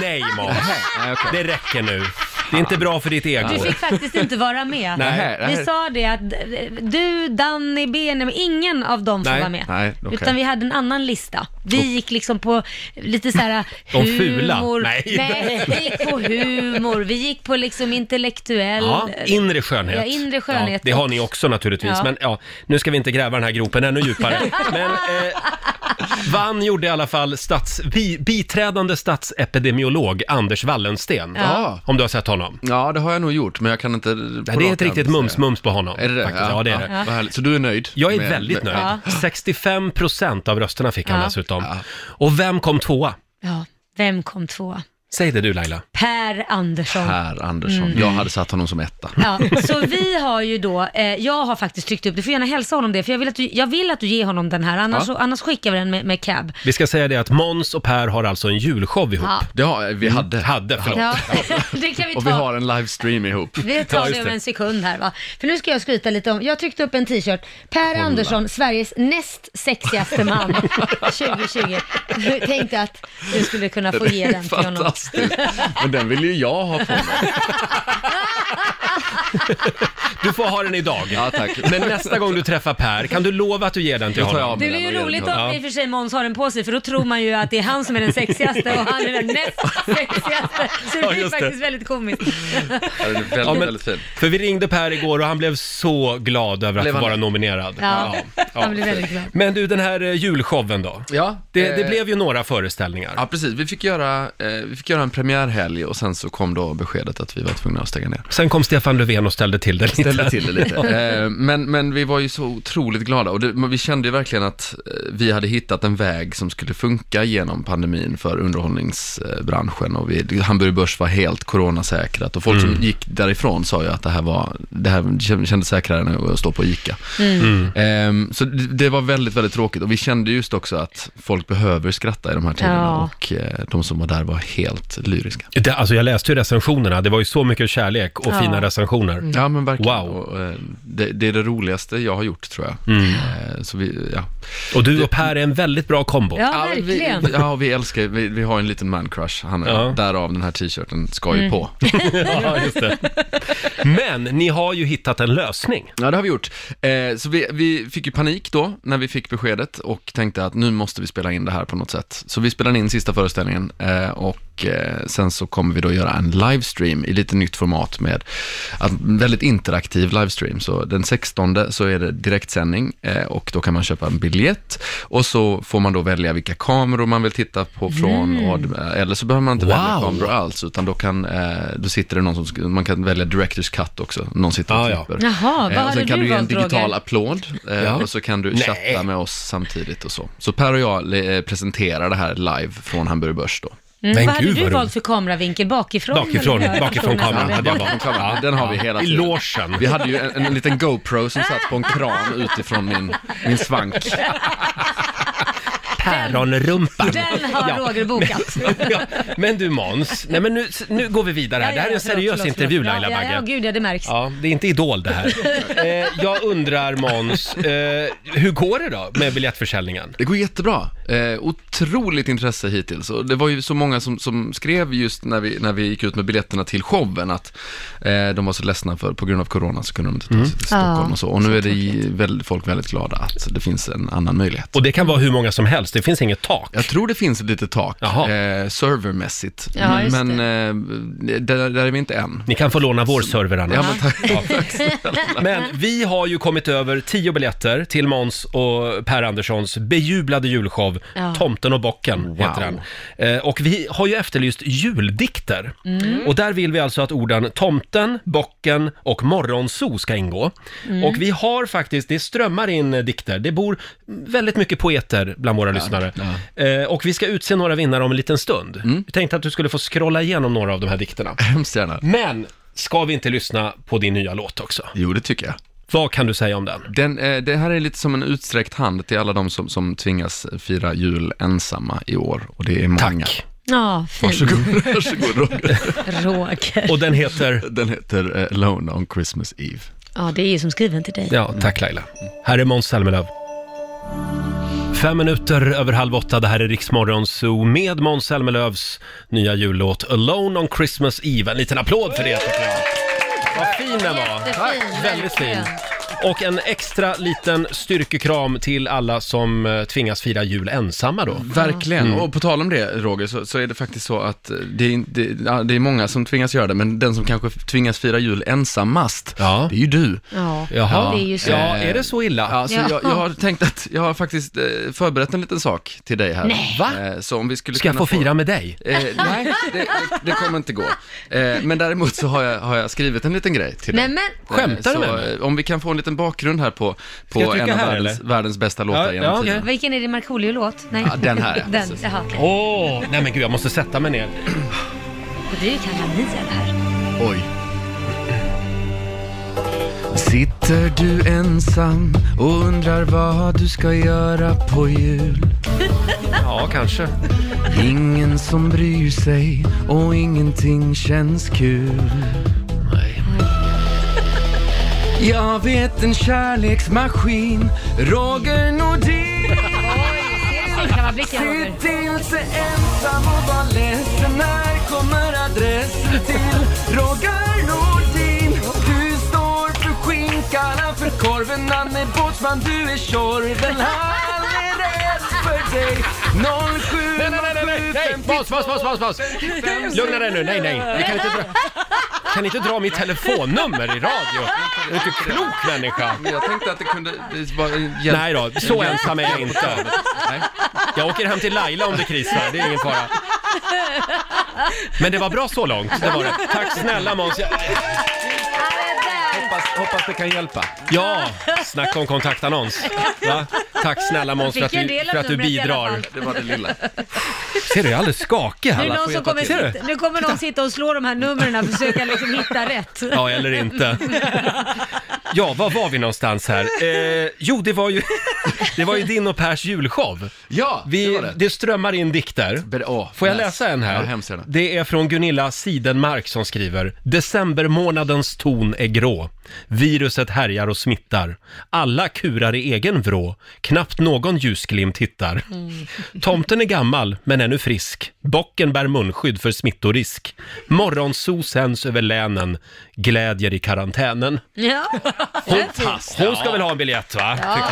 [SPEAKER 1] Nej, Måns.
[SPEAKER 7] Nej, okej.
[SPEAKER 1] Det räcker nu. Det är inte bra för ditt ego.
[SPEAKER 4] Du fick faktiskt inte vara med.
[SPEAKER 1] Nej.
[SPEAKER 7] här- det här-
[SPEAKER 4] Vi sa det att eh, du, Danny, Benjamin, ingen av dem får
[SPEAKER 1] Nej.
[SPEAKER 4] vara med.
[SPEAKER 7] Nej, okej.
[SPEAKER 4] Utan vi hade en annan lista. Vi gick liksom på lite så här
[SPEAKER 1] De fula.
[SPEAKER 4] humor.
[SPEAKER 1] Nej.
[SPEAKER 4] vi gick på humor. Vi gick på liksom intellektuell.
[SPEAKER 1] Ja, inre skönhet.
[SPEAKER 4] Ja, inre skönhet.
[SPEAKER 1] det har ni också naturligtvis,
[SPEAKER 4] Ja.
[SPEAKER 1] men ja, nu ska vi inte gräva den här gropen ännu djupare. Men eh, Vann gjorde i alla fall stats, bi, biträdande statsepidemiolog Anders Wallensten.
[SPEAKER 7] Ja.
[SPEAKER 1] Om du har sett honom.
[SPEAKER 7] Ja, det har jag nog gjort, men jag kan inte...
[SPEAKER 1] Nej, det är ett riktigt mums-mums på honom.
[SPEAKER 7] Är det det?
[SPEAKER 1] faktiskt. Ja, det är det.
[SPEAKER 7] vad härligt. Så du är nöjd?
[SPEAKER 1] Jag är
[SPEAKER 7] med-
[SPEAKER 1] väldigt
[SPEAKER 7] med-
[SPEAKER 1] nöjd. 65 procent av rösterna fick han
[SPEAKER 4] Ja.
[SPEAKER 1] dessutom. Och vem kom tvåa?
[SPEAKER 4] Ja, vem kom tvåa?
[SPEAKER 1] Säg det du Laila.
[SPEAKER 4] Per Andersson.
[SPEAKER 7] Per Andersson. Jag hade satt honom som etta.
[SPEAKER 4] Mm. Ja, så vi har ju då, eh, jag har faktiskt tryckt upp, du får gärna hälsa honom det, för jag vill att du, jag vill att du ger honom den här, annars,
[SPEAKER 7] Ja.
[SPEAKER 4] så, annars skickar vi den med, med cab.
[SPEAKER 1] Vi ska säga det att Mons och Per har alltså en julshow ihop.
[SPEAKER 4] Ja.
[SPEAKER 7] Det har,
[SPEAKER 1] Mm.
[SPEAKER 7] vi hade.
[SPEAKER 1] Hade, förlåt.
[SPEAKER 4] Ja, det kan vi ta.
[SPEAKER 7] Och vi har en livestream ihop.
[SPEAKER 4] Vi
[SPEAKER 1] Ja,
[SPEAKER 4] tar
[SPEAKER 1] just
[SPEAKER 4] det om
[SPEAKER 1] det.
[SPEAKER 4] en sekund här va. För nu ska jag skryta lite om, jag tryckte upp en t-shirt. Per Andersson, Sveriges näst sexigaste man 2020. Jag Tänkte att du skulle kunna få ge den till honom.
[SPEAKER 7] Fantastiskt. Men den vill ju jag ha på mig.
[SPEAKER 1] Du får ha den idag.
[SPEAKER 7] Ja, tack.
[SPEAKER 1] Men nästa gång du träffar Per, kan du lova att du ger den till
[SPEAKER 7] Då tar jag
[SPEAKER 1] honom?
[SPEAKER 7] av
[SPEAKER 4] Det
[SPEAKER 7] mig
[SPEAKER 4] blir
[SPEAKER 7] den
[SPEAKER 4] ju
[SPEAKER 7] och ger den
[SPEAKER 4] roligt
[SPEAKER 7] till honom.
[SPEAKER 4] om i och för sig Måns har den på sig, för då tror man ju att det är han som är den sexigaste och han är den näst sexigaste. Så det
[SPEAKER 1] Ja,
[SPEAKER 4] blir
[SPEAKER 1] just det.
[SPEAKER 4] faktiskt väldigt komiskt.
[SPEAKER 7] Ja, den är väldigt,
[SPEAKER 1] Ja, men-
[SPEAKER 7] väldigt fin.
[SPEAKER 1] För vi ringde Per igår och han blev så glad över att
[SPEAKER 7] Blev
[SPEAKER 1] få
[SPEAKER 7] han
[SPEAKER 1] vara
[SPEAKER 7] det?
[SPEAKER 1] nominerad.
[SPEAKER 4] Ja,
[SPEAKER 1] Ja.
[SPEAKER 4] han blir väldigt glad.
[SPEAKER 1] Men du, den här eh, julshowen då?
[SPEAKER 7] Ja,
[SPEAKER 1] Det, det
[SPEAKER 7] eh,
[SPEAKER 1] blev ju några föreställningar.
[SPEAKER 7] Ja, precis. Vi fick, göra, eh, vi fick göra en premiärhelg och sen så kom då beskedet att vi var tvungna att stänga ner.
[SPEAKER 1] Sen kom Stefan Löfven och ställde till det lite.
[SPEAKER 7] Ställde till det lite. Eh, men, men vi var ju så otroligt glada och det, men vi kände ju verkligen att eh, vi hade hittat en väg som skulle funka genom pandemin för underhållningsbranschen och vi, Hamburg Börs var helt coronasäkrat och folk som gick därifrån sa ju att det här, var, det här kändes säkrare än att stå på ICA. Eh, så det, det var väldigt, väldigt tråkigt och vi kände just också att folk behöver skratta i de här tiderna
[SPEAKER 4] Ja.
[SPEAKER 7] och eh, de som var där var helt lyriska.
[SPEAKER 1] Det, alltså jag läste ju recensionerna, det var ju så mycket kärlek och
[SPEAKER 4] Ja. Mm.
[SPEAKER 1] fina recensioner.
[SPEAKER 7] Ja men verkligen.
[SPEAKER 1] Wow.
[SPEAKER 7] Och, eh, det, det är det roligaste jag har gjort tror jag. Eh, Så vi, ja.
[SPEAKER 1] Och du och Per är en väldigt bra kombo.
[SPEAKER 4] Ja,
[SPEAKER 7] vi-
[SPEAKER 4] verkligen.
[SPEAKER 7] Vi, ja, och vi älskar, vi, vi har en liten man crush, han,
[SPEAKER 1] Ja.
[SPEAKER 7] därav den här t-shirten ska ju
[SPEAKER 4] Mm.
[SPEAKER 7] på.
[SPEAKER 1] Ja, just det. Men ni har ju hittat en
[SPEAKER 4] Mm.
[SPEAKER 1] lösning.
[SPEAKER 7] Ja, det har vi gjort. Eh, så vi, vi fick ju panik då, när vi fick beskedet och tänkte att nu måste vi spela in det här på något sätt. Så vi spelade in sista föreställningen eh, och eh, sen så kommer vi då göra en livestream i lite nytt format med att, väldigt interaktiv livestream. Så den 16 så är det direktsändning eh, och då kan man köpa en biljett och så får man då välja vilka kameror man vill titta på från och, eh, eller så behöver man inte välja
[SPEAKER 1] Mm. Wow.
[SPEAKER 7] kameror alls utan då kan, eh, då sitter det någon som, sk- man kan välja director's cut också, någon sitter och
[SPEAKER 1] Ah, ja.
[SPEAKER 7] klipper.
[SPEAKER 4] Jaha, vad
[SPEAKER 7] Eh, och
[SPEAKER 4] hade
[SPEAKER 7] sen kan
[SPEAKER 4] du
[SPEAKER 7] du ge en
[SPEAKER 4] valt
[SPEAKER 7] digital
[SPEAKER 4] Roger?
[SPEAKER 7] applåd eh,
[SPEAKER 1] Ja.
[SPEAKER 7] och så kan du
[SPEAKER 1] Nej.
[SPEAKER 7] chatta med oss samtidigt och så. Så Per och jag eh, presenterar det här live från Hamburg Börs då.
[SPEAKER 4] Mm,
[SPEAKER 1] Men
[SPEAKER 4] vad hade
[SPEAKER 1] gud,
[SPEAKER 4] du
[SPEAKER 1] vad
[SPEAKER 4] valt
[SPEAKER 1] roligt.
[SPEAKER 4] för kameravinkel? Bakifrån?
[SPEAKER 1] Bakifrån,
[SPEAKER 4] eller?
[SPEAKER 1] bakifrån kameran
[SPEAKER 4] Ja.
[SPEAKER 1] hade jag bara.
[SPEAKER 7] Ja, den har vi hela
[SPEAKER 1] I
[SPEAKER 7] tiden.
[SPEAKER 1] logen.
[SPEAKER 7] Vi hade ju en, en liten GoPro som satt på en kran utifrån min, min svank.
[SPEAKER 1] Päronrumpan.
[SPEAKER 4] Den har
[SPEAKER 1] Ja.
[SPEAKER 4] Roger bokat.
[SPEAKER 1] ja, men du Måns, nej men nu, nu går vi vidare här. det här är en seriös intervju Laila
[SPEAKER 4] Bagge. Ja, ja,
[SPEAKER 1] Bagge. Ja,
[SPEAKER 4] gud ja, det märks.
[SPEAKER 1] det är inte Idol det här. Eh, jag undrar Måns, eh, hur går det då med biljettförsäljningen?
[SPEAKER 7] Det går jättebra. Eh, otroligt intresse hittills. Och det var ju så många som, som skrev just när vi, när vi gick ut med biljetterna till showen att eh, de var så ledsna för, på grund av corona så kunde de inte ta sig till Stockholm
[SPEAKER 4] Mm. Ja,
[SPEAKER 7] och så. Och nu är det i- väldigt, folk väldigt glada att det finns en annan möjlighet.
[SPEAKER 1] Och det kan vara hur många som helst, det finns inget tak.
[SPEAKER 7] Jag tror det finns ett litet tak,
[SPEAKER 1] Jaha.
[SPEAKER 7] eh, servermässigt. Mm.
[SPEAKER 4] Ja, just
[SPEAKER 7] men eh, där, där är vi inte än.
[SPEAKER 1] Ni kan få låna vår server annars.
[SPEAKER 7] Ja, men tack.
[SPEAKER 1] Men vi har ju kommit över tio biljetter till Måns och Per Anderssons bejublade julshow
[SPEAKER 4] Ja.
[SPEAKER 1] Tomten och bocken heter den. Eh, Och vi har ju efterlyst juldikter. Och där vill vi alltså att orden tomten, bocken och morgonso ska ingå. Och vi har faktiskt, det strömmar in eh, dikter. Det bor väldigt mycket poeter bland våra lyssnare. Eh, Och vi ska utse några vinnare om en liten stund.
[SPEAKER 7] Mm.
[SPEAKER 1] Vi tänkte att du skulle få scrolla igenom några av de här dikterna.
[SPEAKER 7] Hemskt gärna.
[SPEAKER 1] Men ska vi inte lyssna på din nya låt också?
[SPEAKER 7] Jo, det tycker jag.
[SPEAKER 1] Vad kan du säga om den?
[SPEAKER 7] Den, eh, det här är lite som en utsträckt hand till alla de som, som tvingas fira jul ensamma i år. Och det är många.
[SPEAKER 1] Tack.
[SPEAKER 4] Ja, fint.
[SPEAKER 1] Mm.
[SPEAKER 7] Varsågod, varsågod Roger.
[SPEAKER 4] Roger.
[SPEAKER 1] Och den heter?
[SPEAKER 7] Den heter eh, Alone on Christmas Eve.
[SPEAKER 4] Ja, det är ju som skriven till dig.
[SPEAKER 1] Ja, tack Laila. Här är Måns Zelmerlöw. Fem minuter över halv åtta, det här är Riksmorgon Zoo med Måns Zelmerlöws nya jullåt Alone on Christmas Eve. En liten applåd för det tycker jag. Vad fin den var.
[SPEAKER 4] Jättefin,
[SPEAKER 1] Väldigt fin.
[SPEAKER 4] verkligen.
[SPEAKER 1] Och en extra liten styrkekram till alla som eh, tvingas fira jul ensamma då. Mm.
[SPEAKER 7] Verkligen, och på tal om det Roger, så, så är det faktiskt så att eh, det är, in- det, ja, det är många som tvingas göra det, men den som kanske tvingas fira jul ensammast,
[SPEAKER 1] Ja.
[SPEAKER 7] det är ju du.
[SPEAKER 4] Ja,
[SPEAKER 1] Jaha.
[SPEAKER 4] det är ju så.
[SPEAKER 1] Ja, är det så illa?
[SPEAKER 7] Ja, så
[SPEAKER 4] Ja.
[SPEAKER 7] Jag, jag har tänkt att, jag har faktiskt eh, förberett en liten sak till dig här.
[SPEAKER 4] Nej.
[SPEAKER 1] Va?
[SPEAKER 7] Eh, Så om vi skulle
[SPEAKER 1] Ska jag
[SPEAKER 7] kunna
[SPEAKER 1] få fira med dig?
[SPEAKER 7] Eh, nej, det, det, det kommer inte gå. Eh, men däremot så har jag, har jag skrivit en liten grej till dig.
[SPEAKER 4] Men, men,
[SPEAKER 7] Eh,
[SPEAKER 1] Skämtar du
[SPEAKER 7] så,
[SPEAKER 1] med mig?
[SPEAKER 7] eh, Om vi kan få en liten bakgrund här på,
[SPEAKER 1] jag
[SPEAKER 7] på
[SPEAKER 1] trycka
[SPEAKER 7] en av
[SPEAKER 1] här,
[SPEAKER 7] världens,
[SPEAKER 1] eller?
[SPEAKER 7] världens bästa låtar
[SPEAKER 1] Ja,
[SPEAKER 7] genom
[SPEAKER 1] ja,
[SPEAKER 7] tiden.
[SPEAKER 1] okej.
[SPEAKER 4] vilken är det Markoolio-låt? Nej.
[SPEAKER 7] Ja, den här, ja,
[SPEAKER 4] Den,
[SPEAKER 7] precis.
[SPEAKER 4] jaha, okej.
[SPEAKER 1] Åh, nej men gud jag måste sätta mig ner.
[SPEAKER 4] Och det är ju Tanzania det här.
[SPEAKER 7] Oj. Sitter du ensam och undrar vad du ska göra på jul?
[SPEAKER 1] Ja, kanske.
[SPEAKER 7] Ingen som bryr sig och ingenting känns kul.
[SPEAKER 1] Nej.
[SPEAKER 7] Jag vet en kärleksmaskin, Roger Nordin.
[SPEAKER 4] Ser du grabbar blicken Roger?
[SPEAKER 7] Sitt inte ensam och var ledsen. Här kommer adressen till Roger Nordin. Du står för skinkan, han för korven. Han är båtsman, du är Tjorven. Han är rädd för dig. 07
[SPEAKER 1] Nej, nej, nej, nej, nej, paus, paus, paus, paus, paus. Lugna dig nu, nej, nej. Vi kan inte dra, kan inte dra mitt telefonnummer i radio. Du är inte klok människa.
[SPEAKER 7] Jag tänkte att det kunde... Det var
[SPEAKER 1] Nej då, så ensam är jag inte. Jag åker hem till Laila om det krisar, det är ingen fara. Men det var bra så långt, det var det. Tack snälla Måns. Jag-
[SPEAKER 7] hoppas, hoppas det kan hjälpa.
[SPEAKER 1] Ja, snacka om kontaktannons. Va? Tack snälla Måns för att
[SPEAKER 4] Fick ju en
[SPEAKER 1] du,
[SPEAKER 4] del av
[SPEAKER 1] för att du
[SPEAKER 4] numret i alla
[SPEAKER 1] bidrar.
[SPEAKER 4] fall.
[SPEAKER 7] Det var det lilla.
[SPEAKER 1] Ser du, jag är alldeles skakig
[SPEAKER 4] Nu,
[SPEAKER 1] här.
[SPEAKER 4] är det
[SPEAKER 1] va?
[SPEAKER 4] någon som kommer
[SPEAKER 1] Ser du?
[SPEAKER 4] sitta, nu kommer någon sitta och slå de här numren och försöka liksom hitta rätt.
[SPEAKER 1] Ja, eller inte. Ja, var var vi någonstans här? Eh, jo, det var, ju, det var ju din och Pers julshow.
[SPEAKER 7] Ja,
[SPEAKER 1] Vi,
[SPEAKER 7] det
[SPEAKER 1] det,
[SPEAKER 7] var det.
[SPEAKER 1] strömmar in dikter.
[SPEAKER 7] Ber- åh,
[SPEAKER 1] Får jag
[SPEAKER 7] nice.
[SPEAKER 1] läsa en här?
[SPEAKER 7] Ja, hemskt gärna.
[SPEAKER 1] det är från Gunilla Sidenmark som skriver. Decembermånadens ton är grå. Viruset härjar och smittar. Alla kurar i egen vrå. Knappt någon ljusglimt hittar. Tomten är gammal, men ännu frisk. Bocken bär munskydd för smittorisk. Morgonsol sänds över länen. Glädjer i karantänen.
[SPEAKER 4] Ja.
[SPEAKER 1] Fantastiskt. Hon ska väl ha en biljett va? Ja. Tycker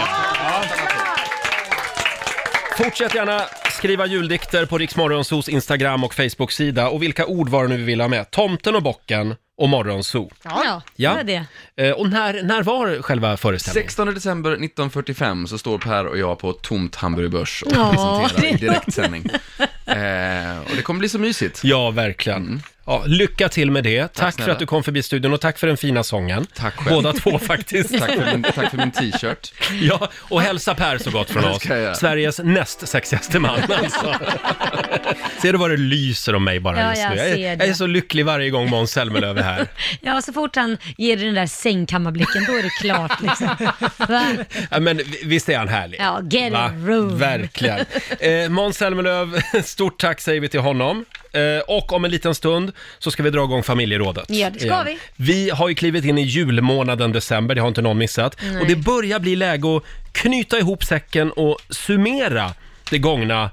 [SPEAKER 1] jag. Ja. Fortsätt gärna skriva juldikter på Riksmorgonsos Instagram och Facebook-sida. Och vilka ord var det nu vi ville ha med? Tomten och bocken och morgonso.
[SPEAKER 4] Ja,
[SPEAKER 1] Ja.
[SPEAKER 4] det var det.
[SPEAKER 1] Eh, Och när, när var själva föreställningen?
[SPEAKER 7] 16 december 1945 så står Per och jag på ett tomt Hamburg Börs och
[SPEAKER 4] Ja,
[SPEAKER 7] presenterar i
[SPEAKER 4] det-
[SPEAKER 7] direktsändning. Eh, och det kommer bli så mysigt.
[SPEAKER 1] Ja, verkligen. Ja, lycka till med det. Tack, för
[SPEAKER 7] Mm. snälla.
[SPEAKER 1] att du kom förbi studion och tack för den fina sången.
[SPEAKER 7] Tack själv.
[SPEAKER 1] Båda två faktiskt.
[SPEAKER 7] Tack för min, tack för min t-shirt.
[SPEAKER 1] Ja, och hälsa Per så gott från
[SPEAKER 7] Det
[SPEAKER 1] oss.
[SPEAKER 7] ska jag göra.
[SPEAKER 1] Sveriges näst sexigaste man alltså. Ser du vad det lyser om mig bara
[SPEAKER 4] Ja,
[SPEAKER 1] just nu?
[SPEAKER 4] jag
[SPEAKER 1] Jag är,
[SPEAKER 4] ser
[SPEAKER 1] jag
[SPEAKER 4] det.
[SPEAKER 1] är så lycklig varje gång Måns Zelmerlöw är här.
[SPEAKER 4] Ja, så fort han ger dig den där sängkammarblicken, då är det klart liksom. Va?
[SPEAKER 1] Ja, Men vi- visst är han härlig?
[SPEAKER 4] Ja, get a room.
[SPEAKER 1] Verkligen. Eh, Måns Zelmerlöw, stort tack säger vi till honom. Eh, och om en liten stund så ska vi dra igång familjerådet.
[SPEAKER 4] Ja, det ska
[SPEAKER 1] igen.
[SPEAKER 4] vi.
[SPEAKER 1] Vi har ju klivit in i julmånaden december, det har inte någon missat. Och det börjar bli läge att knyta ihop säcken och summera det gångna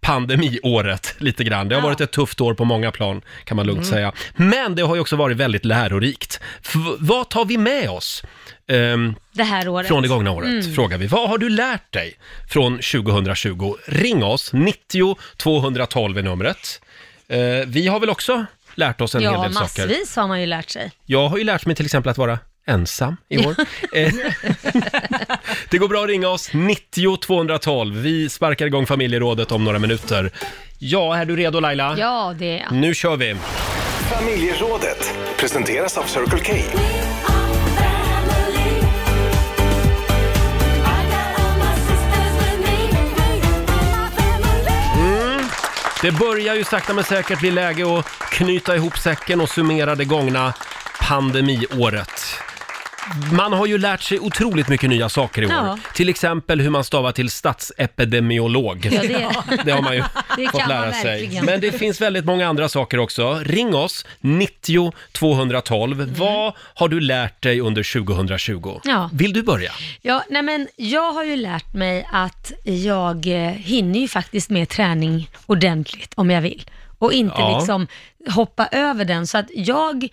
[SPEAKER 1] pandemiåret lite grann. Det har
[SPEAKER 4] Ja. Mm.
[SPEAKER 1] varit ett tufft år på många plan kan man lugnt säga. Men det har ju också varit väldigt lärorikt. F- vad tar vi med oss? Ehm,
[SPEAKER 4] Det här året.
[SPEAKER 1] från det gångna året
[SPEAKER 4] Mm.
[SPEAKER 1] frågar vi. Vad har du lärt dig från 2020? Ring oss, 90 212 är numret. Eh, vi har väl också lärt oss en hel
[SPEAKER 4] Ja,
[SPEAKER 1] del saker.
[SPEAKER 4] massvis har man ju lärt sig.
[SPEAKER 1] Jag har ju lärt mig till exempel att vara ensam i år. Eh, det går bra att ringa oss, 90 212. Vi sparkar igång familjerådet om några minuter. Ja, är du redo Laila?
[SPEAKER 4] Ja, det är
[SPEAKER 1] Nu kör vi!
[SPEAKER 8] Familjerådet presenteras av Circle K.
[SPEAKER 1] Det börjar ju sakta men säkert bli läge att knyta ihop säcken och summera det gångna pandemiåret. man har ju lärt sig otroligt mycket nya saker i år.
[SPEAKER 4] Ja.
[SPEAKER 1] Till exempel hur man stavar till statsepidemiolog.
[SPEAKER 4] Ja, det,
[SPEAKER 1] Det har man ju
[SPEAKER 4] Det
[SPEAKER 1] fått
[SPEAKER 4] kan man
[SPEAKER 1] lära sig.
[SPEAKER 4] verkligen.
[SPEAKER 1] Men det finns väldigt många andra saker också. Ring oss, 90 212. Vad har du lärt dig under 2020?
[SPEAKER 4] Mm. Ja.
[SPEAKER 1] Vill du börja?
[SPEAKER 4] ja, nej men jag har ju lärt mig att jag eh, hinner ju faktiskt med träning ordentligt om jag vill. Och inte
[SPEAKER 1] Ja.
[SPEAKER 4] liksom hoppa över den. Så att jag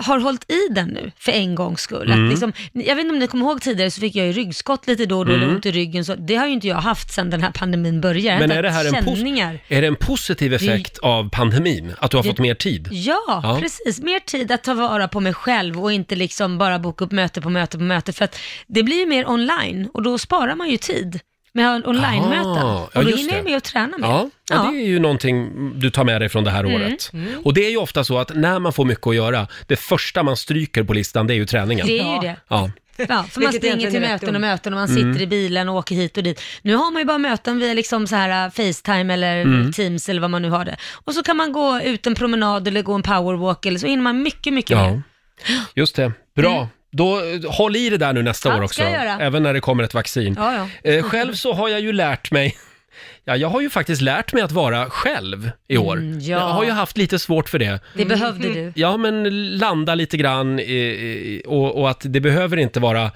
[SPEAKER 4] har hållit i den nu för en gångs skull.
[SPEAKER 1] Mm.
[SPEAKER 4] Att liksom, jag vet inte om ni kommer ihåg tidigare så fick jag ju ryggskott lite då och då, eller ont i ryggen. Så det har ju inte jag haft sedan den här pandemin började.
[SPEAKER 1] Mm. Men
[SPEAKER 4] Jag har
[SPEAKER 1] är det,
[SPEAKER 4] inte
[SPEAKER 1] här en
[SPEAKER 4] haft
[SPEAKER 1] pos-
[SPEAKER 4] känningar.
[SPEAKER 1] är det en positiv effekt av pandemin? Att du har fått mer tid?
[SPEAKER 4] Ja,
[SPEAKER 1] Ja.
[SPEAKER 4] precis. Mer tid att ta vara på mig själv och inte liksom bara boka upp möte på möte på möte. För att det blir ju mer online och då sparar man ju tid med att ha online-möten.
[SPEAKER 1] Ah,
[SPEAKER 4] och
[SPEAKER 1] ja,
[SPEAKER 4] då
[SPEAKER 1] just
[SPEAKER 4] hinner jag
[SPEAKER 1] det.
[SPEAKER 4] med att träna mer.
[SPEAKER 1] Ja, ja.
[SPEAKER 4] Ja. Mm.
[SPEAKER 1] det är ju någonting du tar med dig från det här året. Och det är ju ofta så att när man får mycket att göra, det första man stryker på listan det är ju träningen.
[SPEAKER 4] Det är ju det.
[SPEAKER 1] Ja.
[SPEAKER 4] Ja, för man
[SPEAKER 2] Vilket
[SPEAKER 4] springer
[SPEAKER 2] egentligen
[SPEAKER 4] till
[SPEAKER 2] är rätt
[SPEAKER 4] möten och
[SPEAKER 2] dumt.
[SPEAKER 4] möten och man sitter
[SPEAKER 1] Mm.
[SPEAKER 4] i bilen och åker hit och dit. Nu har man ju bara möten via liksom så här äh, Facetime eller
[SPEAKER 1] Mm.
[SPEAKER 4] Teams eller vad man nu har det. Och så kan man gå ut en promenad eller gå en powerwalk eller så hinner man mycket, mycket
[SPEAKER 1] ja,
[SPEAKER 4] mer.
[SPEAKER 1] just det. Bra. Då eh, håll i det där nu nästa
[SPEAKER 4] Mm. Ja,
[SPEAKER 1] år
[SPEAKER 4] ska
[SPEAKER 1] också,
[SPEAKER 4] jag göra.
[SPEAKER 1] även när det kommer ett vaccin.
[SPEAKER 4] Ja, ja.
[SPEAKER 1] Eh, själv så har jag ju lärt mig Ja, jag har ju faktiskt lärt mig att vara själv i år.
[SPEAKER 4] Mm, ja.
[SPEAKER 1] Jag har ju haft lite svårt för det.
[SPEAKER 4] Det behövde du.
[SPEAKER 1] Ja, men landa lite grann i, i, och, och att det behöver inte vara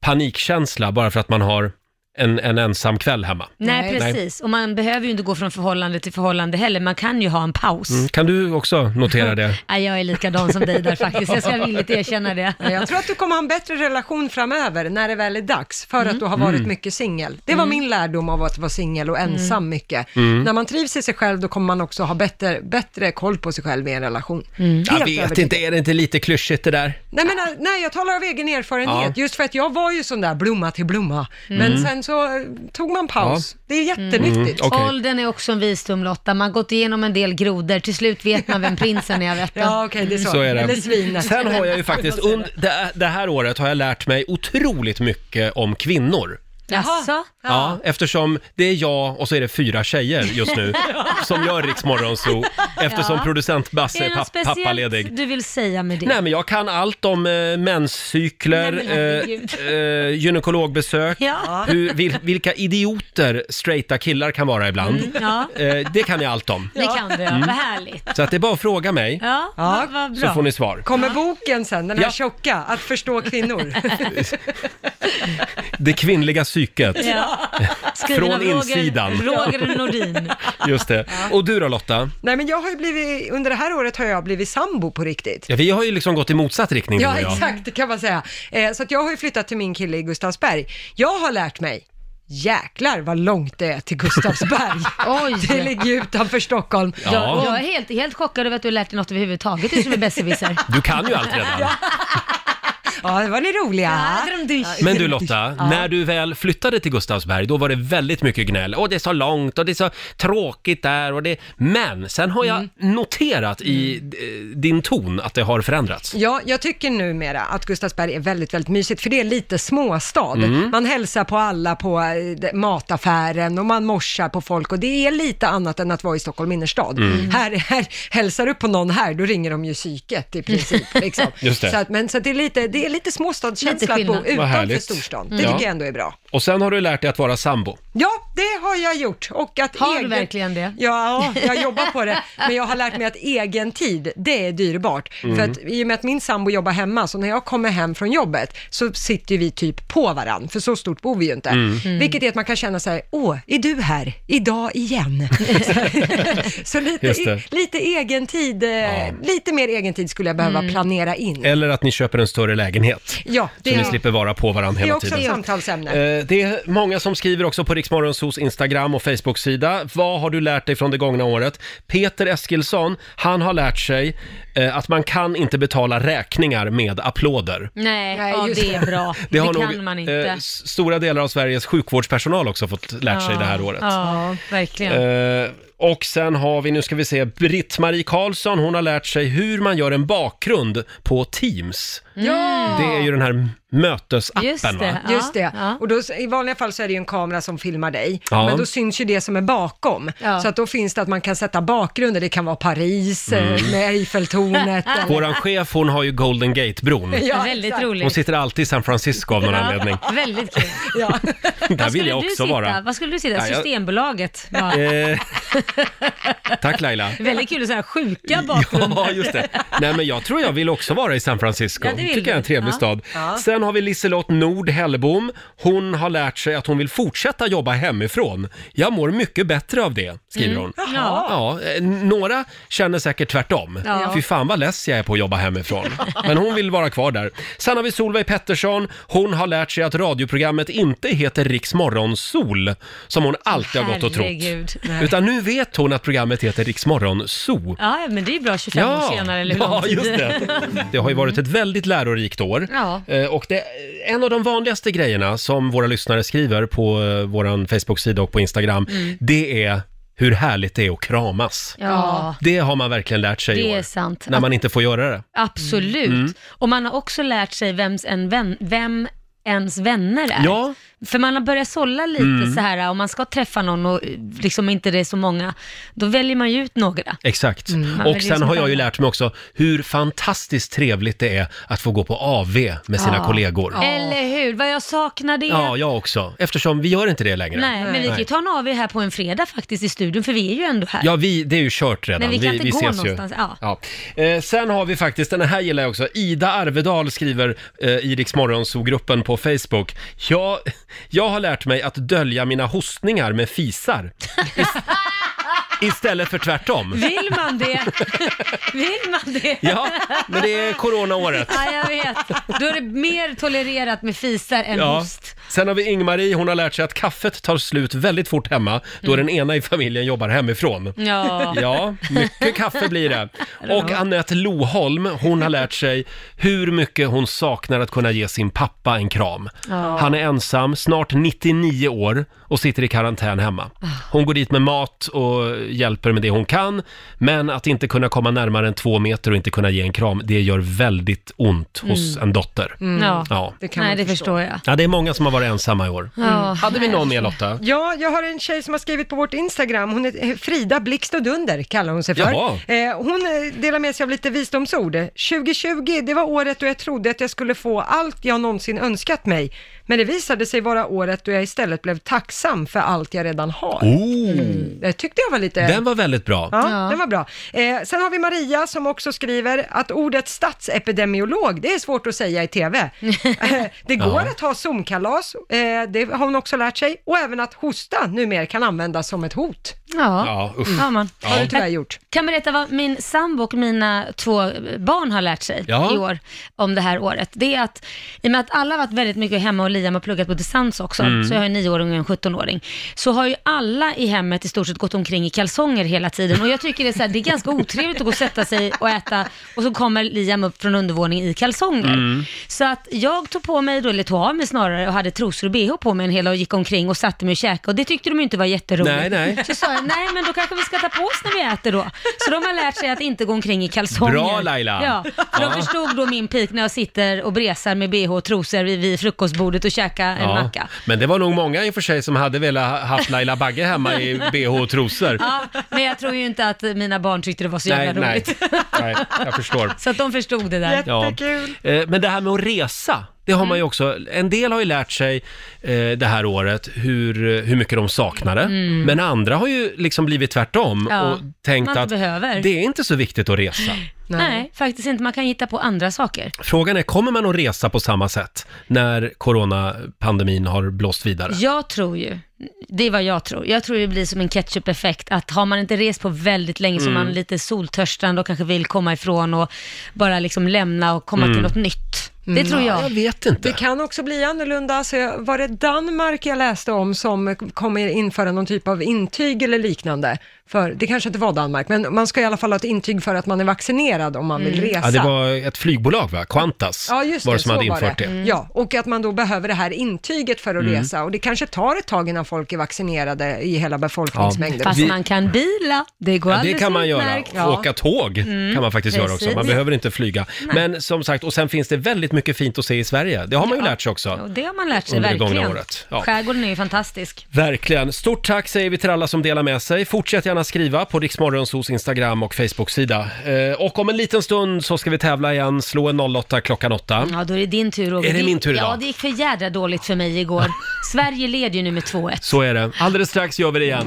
[SPEAKER 1] panikkänsla bara för att man har en, en ensam kväll hemma.
[SPEAKER 4] Nej,
[SPEAKER 2] Nej.
[SPEAKER 4] precis. Och man behöver ju inte gå från förhållande till förhållande heller. Man kan ju ha en paus.
[SPEAKER 1] Mm, Kan du också notera det?
[SPEAKER 4] Nej, jag är likadan som dig där faktiskt. Jag ska villigt erkänna det.
[SPEAKER 2] Ja, Jag tror att du kommer ha en bättre relation framöver när det väl är dags, för att du har
[SPEAKER 1] Mm.
[SPEAKER 2] varit mycket singel. Det var min lärdom av att vara singel och ensam mycket.
[SPEAKER 1] Mm.
[SPEAKER 2] När man trivs i sig själv, då kommer man också ha bättre, bättre koll på sig själv i en relation. Helt
[SPEAKER 1] Jag vet
[SPEAKER 2] övertygad.
[SPEAKER 1] inte, är det inte lite klyschigt det där?
[SPEAKER 2] Nej, men, äh, nej, jag talar av egen erfarenhet, just för att jag var ju sån där blomma till blomma. Men sen så äh, tog man paus. Det är jättenyttigt.
[SPEAKER 1] Mm. Okej.
[SPEAKER 4] Åldern är också en visdom Lotta. Man har gått igenom en del grodor. Till slut vet man vem prinsen är av
[SPEAKER 2] Ja,
[SPEAKER 4] ettan.
[SPEAKER 2] okej, det är så.
[SPEAKER 1] Så är det.
[SPEAKER 2] Eller svinet.
[SPEAKER 1] Sen har jag ju faktiskt, under det, det här året har jag lärt mig otroligt mycket om kvinnor.
[SPEAKER 4] Jaså?
[SPEAKER 1] Ja. eftersom det är jag och så är det fyra tjejer just nu som gör Rix Morgonzoo eftersom
[SPEAKER 4] Ja.
[SPEAKER 1] producent Basse
[SPEAKER 4] Är
[SPEAKER 1] är
[SPEAKER 4] det något
[SPEAKER 1] papp- pappaledig.
[SPEAKER 4] speciellt du vill säga med det?
[SPEAKER 1] Nej, men jag kan allt om eh, menscykler,
[SPEAKER 4] Nej, men herregud.
[SPEAKER 1] eh, eh, gynekologbesök,
[SPEAKER 4] Ja.
[SPEAKER 1] hur, vil, vilka idioter straighta killar kan vara ibland.
[SPEAKER 4] Ja,
[SPEAKER 1] Eh, det kan jag allt om.
[SPEAKER 4] det kan du. Vad härligt.
[SPEAKER 1] Så att det är bara att fråga mig,
[SPEAKER 4] Ja,
[SPEAKER 2] Mm. Ja,
[SPEAKER 4] vad vad
[SPEAKER 1] så
[SPEAKER 4] bra.
[SPEAKER 1] får ni svar.
[SPEAKER 2] Kommer boken sen, den här
[SPEAKER 1] Ja.
[SPEAKER 2] tjocka, att förstå kvinnor?
[SPEAKER 1] Det kvinnliga psyket.
[SPEAKER 4] Ja. Skriven
[SPEAKER 1] Från
[SPEAKER 4] av Roger-
[SPEAKER 1] insidan.
[SPEAKER 4] Roger Nordin.
[SPEAKER 1] Just det. Och du då Lotta?
[SPEAKER 2] Nej men jag har ju blivit, under det här året har jag blivit sambo på riktigt.
[SPEAKER 1] Ja, vi har ju liksom gått i motsatt riktning du
[SPEAKER 2] Ja,
[SPEAKER 1] och jag.
[SPEAKER 2] exakt, det kan man säga. Eh, så att jag har ju flyttat till min kille i Gustavsberg. Jag har lärt mig, jäklar vad långt det är till Gustavsberg.
[SPEAKER 4] Oj.
[SPEAKER 2] det ligger ju utanför Stockholm.
[SPEAKER 1] Ja.
[SPEAKER 4] Jag, jag är helt, helt chockad över att du har lärt dig något överhuvudtaget. Du som är besserwisser.
[SPEAKER 1] Du kan ju allt redan.
[SPEAKER 2] Ja, det var ni roliga.
[SPEAKER 1] Men du Lotta, när du väl flyttade till Gustavsberg, då var det väldigt mycket gnäll. Och det är så långt och det är så tråkigt där och det... Men sen har
[SPEAKER 2] Mm.
[SPEAKER 1] jag noterat i eh, din ton att det har förändrats.
[SPEAKER 2] Ja, jag tycker numera att Gustavsberg är väldigt, väldigt mysigt, för det är lite småstad.
[SPEAKER 1] Mm.
[SPEAKER 2] Man hälsar på alla på eh, d- mataffären och man morsar på folk och det är lite annat än att vara i Stockholm innerstad.
[SPEAKER 1] Mm.
[SPEAKER 2] Här, här, hälsar du på någon här, då ringer de ju psyket i princip. Liksom.
[SPEAKER 1] Just det.
[SPEAKER 2] Så, att, men, så att det, är lite, det är lite
[SPEAKER 4] Lite
[SPEAKER 2] småstadskänsla att bo
[SPEAKER 4] skillnad. Vad
[SPEAKER 2] utanför
[SPEAKER 1] härligt.
[SPEAKER 2] storstan.
[SPEAKER 1] Mm.
[SPEAKER 2] Det
[SPEAKER 1] Ja.
[SPEAKER 2] tycker jag ändå är bra.
[SPEAKER 1] Och sen har du lärt dig att vara sambo.
[SPEAKER 2] Ja, det har jag gjort. Och att
[SPEAKER 4] Har du verkligen det?
[SPEAKER 2] Ja, jag jobbar på det. Men jag har lärt mig att egen tid, det är dyrbart. För
[SPEAKER 1] Mm.
[SPEAKER 2] att i och med att min sambo jobbar hemma, så när jag kommer hem från jobbet så sitter ju vi typ på varann, för så stort bor vi ju inte.
[SPEAKER 1] Mm.
[SPEAKER 4] Mm.
[SPEAKER 2] Vilket är att man kan känna sig, åh, är du här idag igen? så lite, e-
[SPEAKER 1] Just det.
[SPEAKER 2] lite egen tid, eh, lite mer egen tid skulle jag behöva
[SPEAKER 4] Mm.
[SPEAKER 2] planera in.
[SPEAKER 1] Eller att ni köper en större lägenhet.
[SPEAKER 2] Ja, det,
[SPEAKER 1] Eh, Så ni
[SPEAKER 2] är,
[SPEAKER 1] slipper vara på varandra
[SPEAKER 2] det är
[SPEAKER 1] hela
[SPEAKER 2] också
[SPEAKER 1] tiden.
[SPEAKER 2] ett samtalsämne.
[SPEAKER 1] Eh, Det är många som skriver också på Riksmorgonsos Instagram och Facebook-sida. Vad har du lärt dig från det gångna året? Peter Eskilsson, han har lärt sig eh, att man kan inte betala räkningar med applåder.
[SPEAKER 4] Nej,
[SPEAKER 2] Nej,
[SPEAKER 4] ja,
[SPEAKER 2] just
[SPEAKER 4] det är bra. Det,
[SPEAKER 1] har
[SPEAKER 4] kan
[SPEAKER 1] nog,
[SPEAKER 4] man
[SPEAKER 1] eh,
[SPEAKER 4] inte.
[SPEAKER 1] s- stora delar av Sveriges sjukvårdspersonal också fått lärt sig det här året.
[SPEAKER 4] Ja, verkligen.
[SPEAKER 1] Eh, Och sen har vi, nu ska vi se, Britt-Marie Karlsson, hon har lärt sig hur man gör en bakgrund på Teams.
[SPEAKER 2] ja,
[SPEAKER 1] Det är ju den här mötesappen
[SPEAKER 4] Mm. Just det.
[SPEAKER 1] va?
[SPEAKER 4] Ja,
[SPEAKER 2] Just det.
[SPEAKER 4] ja.
[SPEAKER 2] Och då, I vanliga fall så är det ju en kamera som filmar dig,
[SPEAKER 1] Ja.
[SPEAKER 2] men då syns ju det som är bakom.
[SPEAKER 4] Ja.
[SPEAKER 2] Så att då finns det att man kan sätta bakgrunder, det kan vara Paris
[SPEAKER 1] Mm.
[SPEAKER 2] eh, med Eiffeltornet. eller-
[SPEAKER 1] Våran chef hon har ju Golden Gate-bron.
[SPEAKER 2] Ja,
[SPEAKER 4] Väldigt
[SPEAKER 2] exakt.
[SPEAKER 1] Hon
[SPEAKER 4] roligt.
[SPEAKER 1] sitter alltid i San Francisco av någon anledning.
[SPEAKER 4] Ja, väldigt kul.
[SPEAKER 2] Ja.
[SPEAKER 1] Där
[SPEAKER 4] Vad
[SPEAKER 1] vill
[SPEAKER 4] skulle
[SPEAKER 1] jag
[SPEAKER 4] du
[SPEAKER 1] också
[SPEAKER 4] sitta?
[SPEAKER 1] vara.
[SPEAKER 4] Vad skulle du sitta?
[SPEAKER 1] Ja, jag-
[SPEAKER 4] Systembolaget. Ja.
[SPEAKER 1] Eh, tack Laila.
[SPEAKER 4] Väldigt kul att så här sjuka bakgrunder.
[SPEAKER 1] Ja, just det. Nej, men jag tror jag vill också vara i San Francisco.
[SPEAKER 4] Ja, det vill
[SPEAKER 1] Tycker jag är en
[SPEAKER 4] du.
[SPEAKER 1] trevlig
[SPEAKER 4] Ja.
[SPEAKER 1] stad. Sen har vi Liselott Nord Hellbom. Hon har lärt sig att hon vill fortsätta jobba hemifrån. Jag mår mycket bättre av det, skriver
[SPEAKER 4] Mm.
[SPEAKER 1] hon.
[SPEAKER 4] Ja.
[SPEAKER 1] Ja, eh, några känner säkert tvärtom.
[SPEAKER 4] Ja.
[SPEAKER 1] Fy fan vad less jag är på att jobba hemifrån. Men hon vill vara kvar där. Sen har vi Solveig Pettersson. Hon har lärt sig att radioprogrammet inte heter Riks Morgonzol, som hon alltid har gått och trott.
[SPEAKER 4] Herregud.
[SPEAKER 1] Utan nu vet hon att programmet heter Riks Morgonzoo.
[SPEAKER 4] Ja, men det är ju bra 25 år senare eller hur lång
[SPEAKER 1] Ja,
[SPEAKER 4] tid?
[SPEAKER 1] just det. Det har ju varit ett väldigt lärorikt år.
[SPEAKER 4] Ja.
[SPEAKER 1] Eh, Och det, en av de vanligaste grejerna som våra lyssnare skriver på eh, vår Facebook-sida och på Instagram,
[SPEAKER 4] Mm.
[SPEAKER 1] det är hur härligt det är att kramas.
[SPEAKER 4] Ja,
[SPEAKER 1] Det har man verkligen lärt sig i
[SPEAKER 4] Det
[SPEAKER 1] år.
[SPEAKER 4] är sant.
[SPEAKER 1] När man Mm. inte får göra det.
[SPEAKER 4] absolut. Och man har också lärt sig vems en vän, vem ens vänner är.
[SPEAKER 1] Ja,
[SPEAKER 4] För man har börjat sålla lite
[SPEAKER 1] Mm.
[SPEAKER 4] så här, om man ska träffa någon och eh, liksom inte det är så många, då väljer man ju ut några.
[SPEAKER 1] exakt.
[SPEAKER 4] Mm. men det är
[SPEAKER 1] Och sen
[SPEAKER 4] som
[SPEAKER 1] har jag ju
[SPEAKER 4] fan.
[SPEAKER 1] lärt mig också hur fantastiskt trevligt det är att få gå på AV med sina kollegor.
[SPEAKER 4] Eller hur? Vad jag saknar det.
[SPEAKER 1] Ja, jag också. Eftersom vi gör inte det längre.
[SPEAKER 4] Nej, men vi kan ju ta en AV här på en fredag faktiskt i studion, för vi är ju ändå här.
[SPEAKER 1] Ja, vi, det är ju kört redan.
[SPEAKER 4] Men vi kan inte gå någonstans,
[SPEAKER 1] Ju.
[SPEAKER 4] ja.
[SPEAKER 1] Ja. Eh, sen har vi faktiskt, den här gillar jag också, Ida Arvedal skriver eh, i Rix gruppen på Facebook. Jag, jag har lärt mig att dölja mina hostningar med fisar. Ist- istället för tvärtom.
[SPEAKER 4] Vill man det? Vill man det?
[SPEAKER 1] Ja, men det är coronaåret.
[SPEAKER 4] Ja, jag vet. Då är det mer tolererat med fisar än
[SPEAKER 1] Ja.
[SPEAKER 4] host.
[SPEAKER 1] Sen har vi Ingmarie, hon har lärt sig att kaffet tar slut väldigt fort hemma då
[SPEAKER 4] Mm.
[SPEAKER 1] den ena i familjen jobbar hemifrån.
[SPEAKER 4] Ja.
[SPEAKER 1] Ja, mycket kaffe blir det. Och Annette Loholm, hon har lärt sig hur mycket hon saknar att kunna ge sin pappa en kram. Han är ensam, snart 99 år och sitter i karantän hemma. Hon går dit med mat och hjälper med det hon kan, men att inte kunna komma närmare än två meter och inte kunna ge en kram, det gör väldigt ont hos en dotter.
[SPEAKER 4] Ja.
[SPEAKER 1] Ja.
[SPEAKER 2] Det kan
[SPEAKER 4] Nej,
[SPEAKER 2] man förstå.
[SPEAKER 4] det
[SPEAKER 2] Mm.
[SPEAKER 4] förstår jag.
[SPEAKER 1] ja, det är många som har varit ensamma i år.
[SPEAKER 4] Ja.
[SPEAKER 1] Hade vi någon mer Lotta?
[SPEAKER 2] Ja, jag har en tjej som har skrivit på vårt Instagram. Hon är eh, Frida Blixt och Dunder, kallar hon sig för.
[SPEAKER 1] Jaha.
[SPEAKER 2] Eh, Hon eh, delar med sig av lite visdomsord. 2020, det var året då jag trodde att jag skulle få allt jag någonsin önskat mig. Men det visade sig vara året då jag istället blev tacksam för allt jag redan har.
[SPEAKER 1] Oh,
[SPEAKER 2] Det tyckte jag var lite...
[SPEAKER 1] den var väldigt bra.
[SPEAKER 2] Ja, den var bra. Eh, sen har vi Maria som också skriver att ordet statsepidemiolog, det är svårt att säga i TV. Eh, det går
[SPEAKER 1] Ja.
[SPEAKER 2] att ha Zoom-kalas, eh, det har hon också lärt sig, och även att hosta numera kan användas som ett hot.
[SPEAKER 1] Ja,
[SPEAKER 4] Ja.
[SPEAKER 1] usch.
[SPEAKER 4] ja man.
[SPEAKER 2] Har du tyvärr gjort.
[SPEAKER 4] kan berätta vad min sambo och mina två barn har lärt sig
[SPEAKER 1] Ja.
[SPEAKER 4] i år om det här året. Det är att, i och med att alla har varit väldigt mycket hemma och Liam har pluggat på distans också, så jag har en nioåring och en 17-åring, så har ju alla i hemmet i stort sett gått omkring i kalsonger hela tiden. Och jag tycker det är, så här, det är ganska otrevligt att gå och sätta sig och äta och så kommer Liam upp från undervåningen i kalsonger. Så att jag tog på mig, då, eller tog av mig snarare, och hade trosor och bh på mig en hel dag och gick omkring och satte mig och käkade. Och det tyckte de ju inte var jätteroligt.
[SPEAKER 1] Nej, nej.
[SPEAKER 4] Så sa jag, nej men då kanske vi ska ta på oss när vi äter då. Så de har lärt sig att inte gå omkring i kalsonger.
[SPEAKER 1] Bra, Laila.
[SPEAKER 4] Ja, för
[SPEAKER 1] Ja.
[SPEAKER 4] de förstod då min pik när jag sitter och bresar med bh och trosor vid, vid frukostbordet och käkar en
[SPEAKER 1] Ja,
[SPEAKER 4] macka.
[SPEAKER 1] Men det var nog många i och för sig som hade velat ha haft Laila Bagge hemma i bh och trosor.
[SPEAKER 4] Ja, men jag tror ju inte att mina barn tyckte det var så
[SPEAKER 1] nej,
[SPEAKER 4] jävla
[SPEAKER 1] nej,
[SPEAKER 4] roligt.
[SPEAKER 1] nej, jag förstår.
[SPEAKER 4] Så att de förstod det där.
[SPEAKER 2] Jättekul.
[SPEAKER 1] Eh, Men det här med att resa, det har man
[SPEAKER 4] Mm.
[SPEAKER 1] ju också, en del har ju lärt sig eh, det här året hur, hur mycket de saknade, men andra har ju liksom blivit tvärtom
[SPEAKER 4] Mm. Ja,
[SPEAKER 1] och tänkt
[SPEAKER 4] man inte
[SPEAKER 1] att
[SPEAKER 4] behöver.
[SPEAKER 1] det är inte så viktigt att resa.
[SPEAKER 4] Nej. faktiskt inte. Man kan hitta på andra saker.
[SPEAKER 1] Frågan är, kommer man att resa på samma sätt när coronapandemin har blåst vidare?
[SPEAKER 4] Jag tror ju, det är vad jag tror, jag tror det blir som en ketchup-effekt, att har man inte rest på väldigt länge så är
[SPEAKER 1] Mm.
[SPEAKER 4] man lite soltörstande och kanske vill komma ifrån och bara liksom lämna och komma till något nytt. Det tror jag.
[SPEAKER 1] Mm. Jag vet inte.
[SPEAKER 2] Det kan också bli annorlunda. Så jag- var det Danmark jag läste om som kommer införa någon typ av intyg eller liknande för, det kanske inte var Danmark, men man ska i alla fall ha ett intyg för att man är vaccinerad om man vill resa.
[SPEAKER 1] Ja, det var ett flygbolag va? Qantas
[SPEAKER 2] Ja, just det,
[SPEAKER 1] var det som
[SPEAKER 2] så
[SPEAKER 1] hade
[SPEAKER 2] var
[SPEAKER 1] infört det. Mm.
[SPEAKER 2] det. Mm. Ja, och att man då behöver det här intyget för att resa och det kanske tar ett tag innan folk är vaccinerade i hela befolkningsmängden.
[SPEAKER 4] Fast
[SPEAKER 1] Vi-
[SPEAKER 4] man kan bila, det går
[SPEAKER 1] Ja, det
[SPEAKER 4] alldeles
[SPEAKER 1] kan man göra.
[SPEAKER 4] utmärkt. Mm.
[SPEAKER 2] Ja.
[SPEAKER 1] Åka tåg kan man faktiskt göra också. Man
[SPEAKER 4] precis.
[SPEAKER 1] behöver inte flyga. Men som sagt, och sen finns det väldigt mycket fint att se i Sverige. Det har man ju lärt sig också.
[SPEAKER 4] Och det har man lärt sig
[SPEAKER 1] Under det gångna
[SPEAKER 4] verkligen.
[SPEAKER 1] året, ja.
[SPEAKER 4] Skärgården är ju fantastisk.
[SPEAKER 1] Verkligen. Stort tack säger vi till alla som delar med sig. Fortsätt gärna skriva på Riksmorgonsos Instagram och Facebook-sida. Eh, och om en liten stund så ska vi tävla igen. Slå en 08 klockan 8.
[SPEAKER 4] Ja, då är det din tur Roger.
[SPEAKER 1] Är det min tur
[SPEAKER 4] Ja,
[SPEAKER 1] idag?
[SPEAKER 4] det gick för jädra dåligt för mig igår. Sverige led ju nu med 2-1.
[SPEAKER 1] Så är det. Alldeles strax gör vi det igen.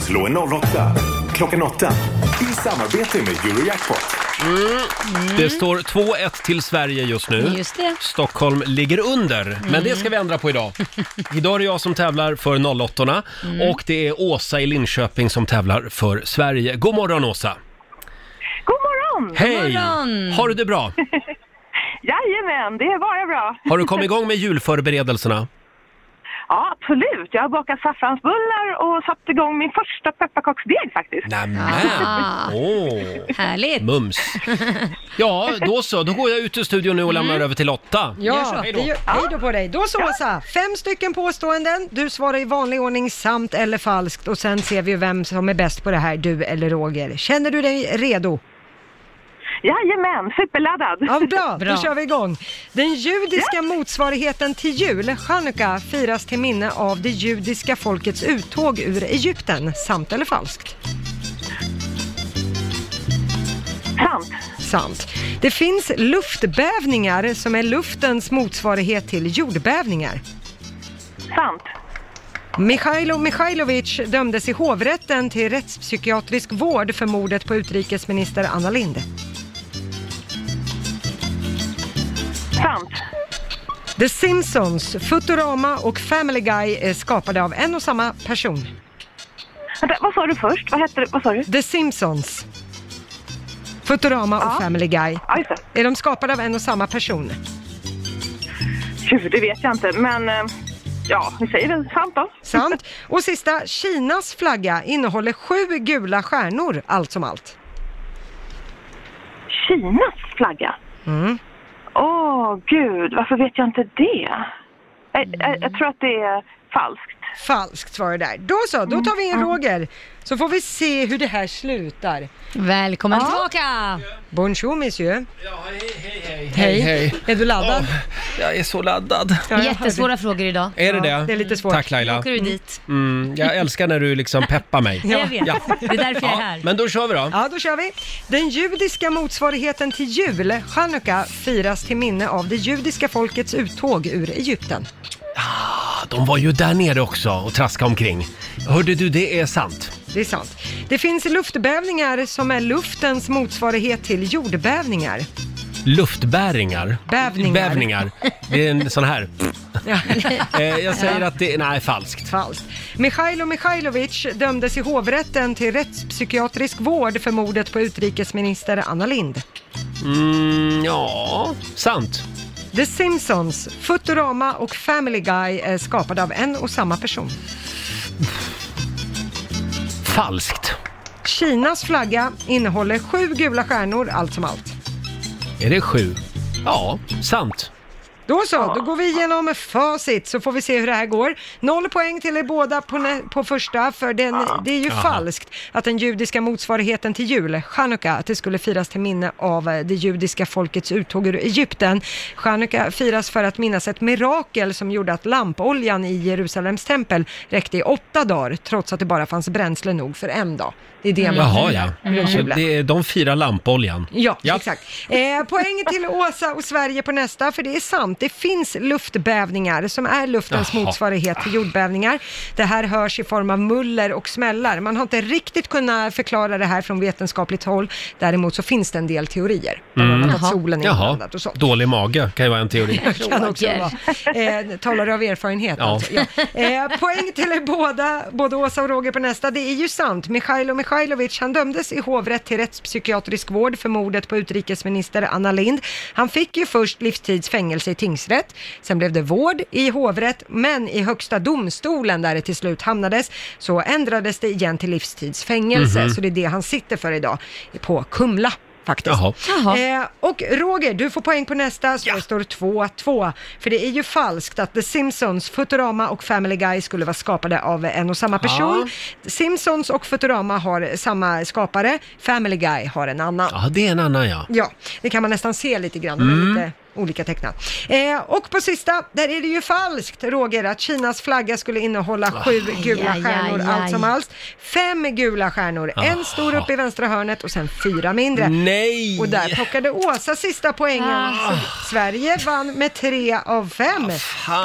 [SPEAKER 8] Slå en 08 klockan 8 i samarbete med Eurojackpot.
[SPEAKER 4] Mm.
[SPEAKER 1] Det står 2-1 till Sverige just nu.
[SPEAKER 4] Just det.
[SPEAKER 1] Stockholm ligger under, men det ska vi ändra på idag. Idag är det jag som tävlar för 08 och det är Åsa i Linköping som tävlar för Sverige. God morgon Åsa!
[SPEAKER 6] God morgon!
[SPEAKER 1] Hej!
[SPEAKER 4] morgon.
[SPEAKER 1] Har du det bra?
[SPEAKER 6] Jajamän, det är bara bra.
[SPEAKER 1] Har du kommit igång med julförberedelserna?
[SPEAKER 6] Ja, absolut. Jag har bakat saffransbullar och satt igång min första pepparkaksdeg faktiskt.
[SPEAKER 1] Nämen!
[SPEAKER 4] Ah,
[SPEAKER 1] Åh,
[SPEAKER 4] härligt.
[SPEAKER 1] mums! Ja, då så. Då går jag ut ur studion nu och lämnar över till Lotta.
[SPEAKER 4] Gör så.
[SPEAKER 2] Ja,
[SPEAKER 1] Hej
[SPEAKER 2] hej
[SPEAKER 1] då.
[SPEAKER 2] då. hej då på dig. Då så Åsa, fem stycken påståenden. Du svarar i vanlig ordning sant eller falskt och sen ser vi ju vem som är bäst på det här, du eller Roger. Känner du dig redo?
[SPEAKER 6] Jajamän, superladdad.
[SPEAKER 2] Ja, bra,
[SPEAKER 4] Bra.
[SPEAKER 2] då kör vi igång. Den judiska motsvarigheten till jul, chanukka, firas till minne av det judiska folkets uttåg ur Egypten. Sant eller falskt?
[SPEAKER 6] Sant.
[SPEAKER 2] Sant. Det finns luftbävningar som är luftens motsvarighet till jordbävningar.
[SPEAKER 6] Sant.
[SPEAKER 2] Mikhailo Mikhailovic dömdes i hovrätten till rättspsykiatrisk vård för mordet på utrikesminister Anna Lindh.
[SPEAKER 6] Sant.
[SPEAKER 2] The Simpsons, Futurama och Family Guy är skapade av en och samma person.
[SPEAKER 6] Vänta, vad sa du först? Vad hette det? Vad sa du?
[SPEAKER 2] The Simpsons, Futurama och
[SPEAKER 6] Ja.
[SPEAKER 2] Family Guy.
[SPEAKER 6] Ja, just det.
[SPEAKER 2] Är de skapade av en och samma person?
[SPEAKER 6] Gud, det vet jag inte. Men eh, ja, vi säger väl sant då.
[SPEAKER 2] Sant. Och sista, Kinas flagga innehåller sju gula stjärnor allt som allt.
[SPEAKER 6] Kinas flagga? Åh, gud, varför vet jag inte det? Jag, jag, jag tror att det är falskt.
[SPEAKER 2] Falskt var det där. Då så, då tar vi in Roger. Så får vi se hur det här slutar.
[SPEAKER 4] Välkommen tillbaka!
[SPEAKER 2] Bonjour monsieur.
[SPEAKER 1] hej,
[SPEAKER 2] Hej. Är du laddad?
[SPEAKER 1] Jag är så laddad.
[SPEAKER 2] Ja, jag
[SPEAKER 4] Jättesvåra frågor idag.
[SPEAKER 1] Är det
[SPEAKER 2] Ja,
[SPEAKER 1] det?
[SPEAKER 2] det är lite svårt.
[SPEAKER 1] Tack
[SPEAKER 4] Nu
[SPEAKER 1] Laila.
[SPEAKER 4] åker du dit.
[SPEAKER 1] Mm, jag älskar när du liksom peppar mig.
[SPEAKER 4] Jag vet.
[SPEAKER 1] Ja.
[SPEAKER 4] Det är därför jag är
[SPEAKER 1] Ja,
[SPEAKER 4] här.
[SPEAKER 1] men då kör vi då.
[SPEAKER 2] Ja, då kör vi. Den judiska motsvarigheten till jul, chanukka, firas till minne av det judiska folkets uttåg ur Egypten.
[SPEAKER 1] De var ju där nere också och traskade omkring. Hörde du, det är sant.
[SPEAKER 2] Det är sant. Det finns luftbävningar som är luftens motsvarighet till jordbävningar.
[SPEAKER 1] Luftbäringar.
[SPEAKER 2] Bävningar.
[SPEAKER 1] Bävningar. Det är en sån här.
[SPEAKER 2] Ja.
[SPEAKER 1] Eh, jag säger att det nej, falskt.
[SPEAKER 2] Falskt. Mikhailo Mikhailovic dömdes i hovrätten till rättspsykiatrisk vård för mordet på utrikesminister Anna Lindh.
[SPEAKER 1] Mm, ja, sant.
[SPEAKER 2] The Simpsons, Futurama och Family Guy är skapade av en och samma person.
[SPEAKER 1] Falskt.
[SPEAKER 2] Kinas flagga innehåller sju gula stjärnor allt som allt.
[SPEAKER 1] Är det sju? Ja, sant.
[SPEAKER 2] Då så, då går vi igenom facit så får vi se hur det här går. Noll poäng till er båda på, nä- på första, för den, det är ju falskt att den judiska motsvarigheten till jul, chanukka, att det skulle firas till minne av eh, det judiska folkets uttåg ur Egypten. Chanukka firas för att minnas ett mirakel som gjorde att lampoljan i Jerusalems tempel räckte i åtta dagar, trots att det bara fanns bränsle nog för en dag. Det är det man
[SPEAKER 1] Jaha, ja. Så
[SPEAKER 2] Mm.
[SPEAKER 1] det är, de firar lampoljan.
[SPEAKER 2] Ja,
[SPEAKER 1] Ja.
[SPEAKER 2] exakt. Eh, poäng till Åsa och Sverige på nästa, för det är sant. Det finns luftbävningar som är luftens
[SPEAKER 1] Jaha.
[SPEAKER 2] motsvarighet till jordbävningar. Det här hörs i form av muller och smällar. Man har inte riktigt kunnat förklara det här från vetenskapligt håll. Däremot så finns det en del teorier, bland annat att
[SPEAKER 4] Jaha.
[SPEAKER 2] solen
[SPEAKER 1] Mm.
[SPEAKER 2] är
[SPEAKER 1] Jaha,
[SPEAKER 2] inblandad och sånt.
[SPEAKER 1] dålig mage kan ju vara en teori.
[SPEAKER 2] Kan också vara. Eh, talar du av erfarenhet
[SPEAKER 1] Ja.
[SPEAKER 2] alltså? Ja. Eh, poäng till er båda, både Åsa och Roger på nästa. Det är ju sant. Mikhailo Mikhailovic, han dömdes i hovrätt till rättspsykiatrisk vård för mordet på utrikesminister Anna Lind. Han fick ju först livstids fängelse i tingsrätt. Sen blev det vård i hovrätt, men i högsta domstolen där det till slut hamnades så ändrades det igen till livstidsfängelse.
[SPEAKER 1] Mhm.
[SPEAKER 2] Så det är det han sitter för idag på Kumla faktiskt.
[SPEAKER 1] Jaha.
[SPEAKER 4] Jaha.
[SPEAKER 2] Eh, och Roger, du får poäng på nästa så det står 2-2. För det är ju falskt att The Simpsons, Futurama och Family Guy skulle vara skapade av en och samma person. Simpsons och Futurama har samma skapare, Family Guy har en annan.
[SPEAKER 1] Ja, det är en annan ja.
[SPEAKER 2] Ja, det kan man nästan se lite grann. de är
[SPEAKER 4] Mm.
[SPEAKER 2] Lite olika tecknat. Eh, och på sista, där är det ju falskt, Roger, att Kinas flagga skulle innehålla sju gula
[SPEAKER 4] Ah. aj,
[SPEAKER 2] stjärnor
[SPEAKER 4] aj,
[SPEAKER 2] allt
[SPEAKER 4] aj. Ah.
[SPEAKER 2] som allt. Fem gula stjärnor, en stor uppe i vänstra hörnet och sen fyra mindre.
[SPEAKER 4] Mm.
[SPEAKER 1] Nej!
[SPEAKER 2] Och där plockade Åsa sista poängen. Så Sverige vann med tre av fem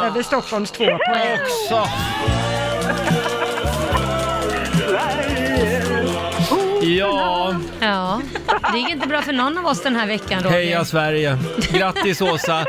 [SPEAKER 2] över Stockholms två poäng.
[SPEAKER 1] Så. Ja,
[SPEAKER 4] Ja, det gick inte bra för någon av oss den här veckan Roger.
[SPEAKER 1] heja Sverige! Grattis Åsa!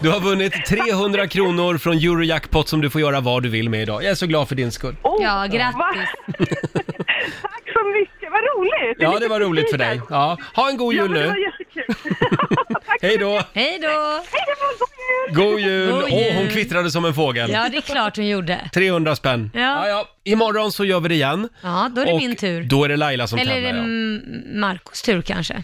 [SPEAKER 1] Du har vunnit 300 kronor från Eurojackpot som du får göra vad du vill med idag. Jag är så glad för din skull.
[SPEAKER 6] Oh,
[SPEAKER 4] Ja, grattis.
[SPEAKER 6] Tack så mycket, vad roligt! Jag är
[SPEAKER 1] Ja,
[SPEAKER 6] lite
[SPEAKER 1] det var roligt för
[SPEAKER 6] förtvivlad.
[SPEAKER 1] dig. Ja, ha en god
[SPEAKER 6] Ja,
[SPEAKER 1] jul
[SPEAKER 6] men det
[SPEAKER 1] nu!
[SPEAKER 6] var jättekul. Tack
[SPEAKER 1] Hej då!
[SPEAKER 4] Hej då!
[SPEAKER 6] Hej då,
[SPEAKER 1] God
[SPEAKER 6] god jul!
[SPEAKER 1] jul!
[SPEAKER 4] God
[SPEAKER 1] Åh,
[SPEAKER 4] jul.
[SPEAKER 1] hon kvittrade som en fågel.
[SPEAKER 4] Ja, det är klart hon gjorde.
[SPEAKER 1] 300 spänn.
[SPEAKER 4] Ja.
[SPEAKER 1] Ja, ja. Imorgon så gör vi det igen.
[SPEAKER 4] Ja, då är det
[SPEAKER 1] Och
[SPEAKER 4] min tur.
[SPEAKER 1] Då är det Laila som
[SPEAKER 4] Eller är det
[SPEAKER 1] tävlar. Ja.
[SPEAKER 4] M- Marcos tur kanske?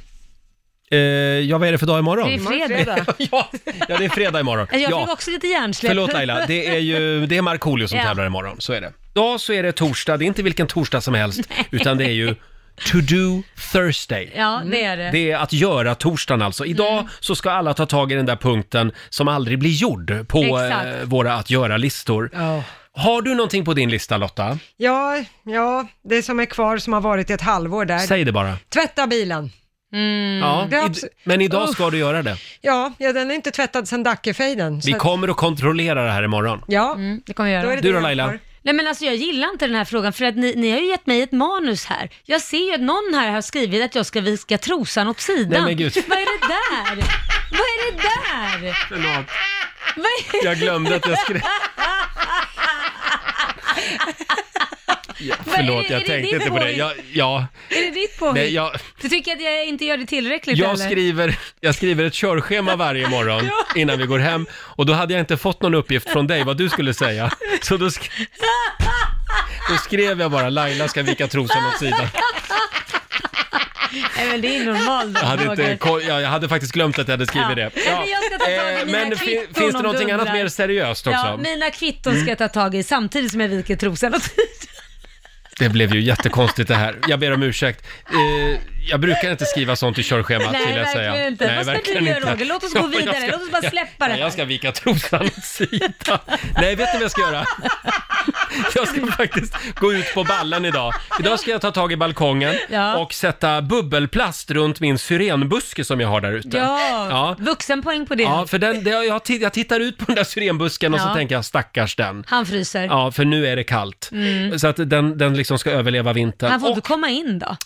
[SPEAKER 1] Eh, ja, vad är det för dag imorgon?
[SPEAKER 4] Det är fredag.
[SPEAKER 1] ja, ja, det är fredag imorgon.
[SPEAKER 4] Jag
[SPEAKER 1] ja.
[SPEAKER 4] fick också lite hjärnsläpp.
[SPEAKER 1] Förlåt Laila, det är ju det är Markoolio som
[SPEAKER 4] Ja.
[SPEAKER 1] tävlar imorgon, så är det. Ja, så är det torsdag, det är inte vilken torsdag som helst, utan det är ju To Do Thursday.
[SPEAKER 4] Ja, det är det.
[SPEAKER 1] Det är att göra torsdagen alltså. Idag
[SPEAKER 2] Mm.
[SPEAKER 1] så ska alla ta tag i den där punkten som aldrig blir gjord på
[SPEAKER 4] Exakt.
[SPEAKER 1] eh, våra att göra-listor. Har du någonting på din lista Lotta?
[SPEAKER 2] Ja, ja, det som är kvar som har varit i ett halvår där.
[SPEAKER 1] Säg det bara.
[SPEAKER 2] Tvätta bilen.
[SPEAKER 1] Ja,
[SPEAKER 2] Mm. Det är
[SPEAKER 1] id-
[SPEAKER 2] abs-
[SPEAKER 1] men idag ska du göra det.
[SPEAKER 2] Ja, ja den är inte tvättad sedan Dackefejden. så
[SPEAKER 1] Vi
[SPEAKER 2] att-
[SPEAKER 1] kommer att kontrollera det här imorgon.
[SPEAKER 2] Ja,
[SPEAKER 4] Mm, det kommer
[SPEAKER 2] då
[SPEAKER 4] jag göra.
[SPEAKER 2] är det
[SPEAKER 1] Du då,
[SPEAKER 2] jag
[SPEAKER 1] Laila?
[SPEAKER 2] får.
[SPEAKER 4] Nej men alltså jag gillar inte den här frågan för att ni, ni har ju gett mig ett manus här. Jag ser ju att någon här har skrivit att jag ska vika trosan åt sidan.
[SPEAKER 1] Nej, men gud.
[SPEAKER 4] Vad är det där? Vad är det där?
[SPEAKER 1] Förlåt,
[SPEAKER 4] Vad är...
[SPEAKER 1] jag glömde att jag skrev...
[SPEAKER 4] vad är det-
[SPEAKER 1] Förlåt,
[SPEAKER 4] är
[SPEAKER 1] jag
[SPEAKER 4] det
[SPEAKER 1] tänkte
[SPEAKER 4] ditt
[SPEAKER 1] inte på det.
[SPEAKER 4] påhitt?
[SPEAKER 1] Jag, ja,
[SPEAKER 4] Är det ditt påhitt?
[SPEAKER 1] nej, jag...
[SPEAKER 4] Du tycker att jag inte gör det tillräckligt
[SPEAKER 1] Jag
[SPEAKER 4] eller?
[SPEAKER 1] skriver, jag skriver ett körschema varje morgon innan vi går hem och då hade jag inte fått någon uppgift från dig vad du skulle säga. Så då, sk- då skrev jag bara Laila ska vika trosan åt sidan.
[SPEAKER 4] Nej men det är normalt.
[SPEAKER 1] Jag hade, inte,
[SPEAKER 4] Roger.
[SPEAKER 1] ko- ja, jag hade faktiskt glömt att jag hade skrivit det.
[SPEAKER 4] Nej, men jag ska ta tag i
[SPEAKER 1] Eh,
[SPEAKER 4] mina
[SPEAKER 1] Men fi-
[SPEAKER 4] kvitton
[SPEAKER 1] finns
[SPEAKER 4] om
[SPEAKER 1] det
[SPEAKER 4] du
[SPEAKER 1] någonting annat
[SPEAKER 4] undrar.
[SPEAKER 1] mer seriöst också?
[SPEAKER 4] Ja, mina kvitton ska jag ta tag i samtidigt som jag viker trosan åt sidan.
[SPEAKER 1] Det blev ju jättekonstigt det här. Jag ber om ursäkt. Eh, jag brukar inte skriva sånt i körschemat
[SPEAKER 4] Nej,
[SPEAKER 1] vill jag
[SPEAKER 4] verkligen
[SPEAKER 1] säga.
[SPEAKER 4] inte. Vad ska du
[SPEAKER 1] verkligen
[SPEAKER 4] göra, Roger? Låt oss gå
[SPEAKER 1] Ja, jag
[SPEAKER 4] vidare. Låt oss bara släppa det
[SPEAKER 1] jag,
[SPEAKER 4] här.
[SPEAKER 1] jag ska vika trosan åt sidan. Nej, vet ni vad jag ska göra? Jag ska faktiskt gå ut på ballen idag. Idag ska jag ta tag i balkongen
[SPEAKER 4] Ja.
[SPEAKER 1] och sätta bubbelplast runt min syrenbuske som jag har där ute.
[SPEAKER 4] Ja,
[SPEAKER 1] ja.
[SPEAKER 4] vuxenpoäng på det.
[SPEAKER 1] Ja, för den, det, jag, titt- jag tittar ut på den där syrenbusken och så
[SPEAKER 4] Ja.
[SPEAKER 1] tänker jag stackars den.
[SPEAKER 4] Han fryser.
[SPEAKER 1] Ja, för nu är det kallt. Så att den, den liksom ska överleva vintern.
[SPEAKER 4] Mm. Han får
[SPEAKER 1] Och-
[SPEAKER 4] inte komma in då.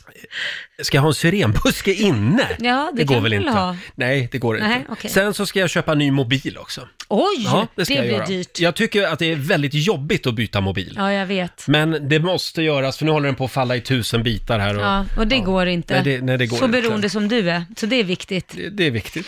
[SPEAKER 1] Ska jag ha en syrenbuske inne?
[SPEAKER 4] Ja, det
[SPEAKER 1] går
[SPEAKER 4] kan
[SPEAKER 1] väl
[SPEAKER 4] du
[SPEAKER 1] inte?
[SPEAKER 4] ha.
[SPEAKER 1] Nej, det går inte.
[SPEAKER 4] Nej, okej.
[SPEAKER 1] Sen så ska jag köpa en ny mobil också.
[SPEAKER 4] Oj,
[SPEAKER 1] Ja,
[SPEAKER 4] det,
[SPEAKER 1] det ska jag
[SPEAKER 4] blir
[SPEAKER 1] göra.
[SPEAKER 4] dyrt.
[SPEAKER 1] Jag tycker att det är väldigt jobbigt att byta mobil.
[SPEAKER 4] Ja, jag vet.
[SPEAKER 1] Men det måste göras, för nu håller den på att falla i tusen bitar här. Och
[SPEAKER 4] Ja, och det går inte.
[SPEAKER 1] Nej, det- nej, det går
[SPEAKER 4] så
[SPEAKER 1] inte.
[SPEAKER 4] beroende som du är, så det är viktigt.
[SPEAKER 1] det, det är viktigt.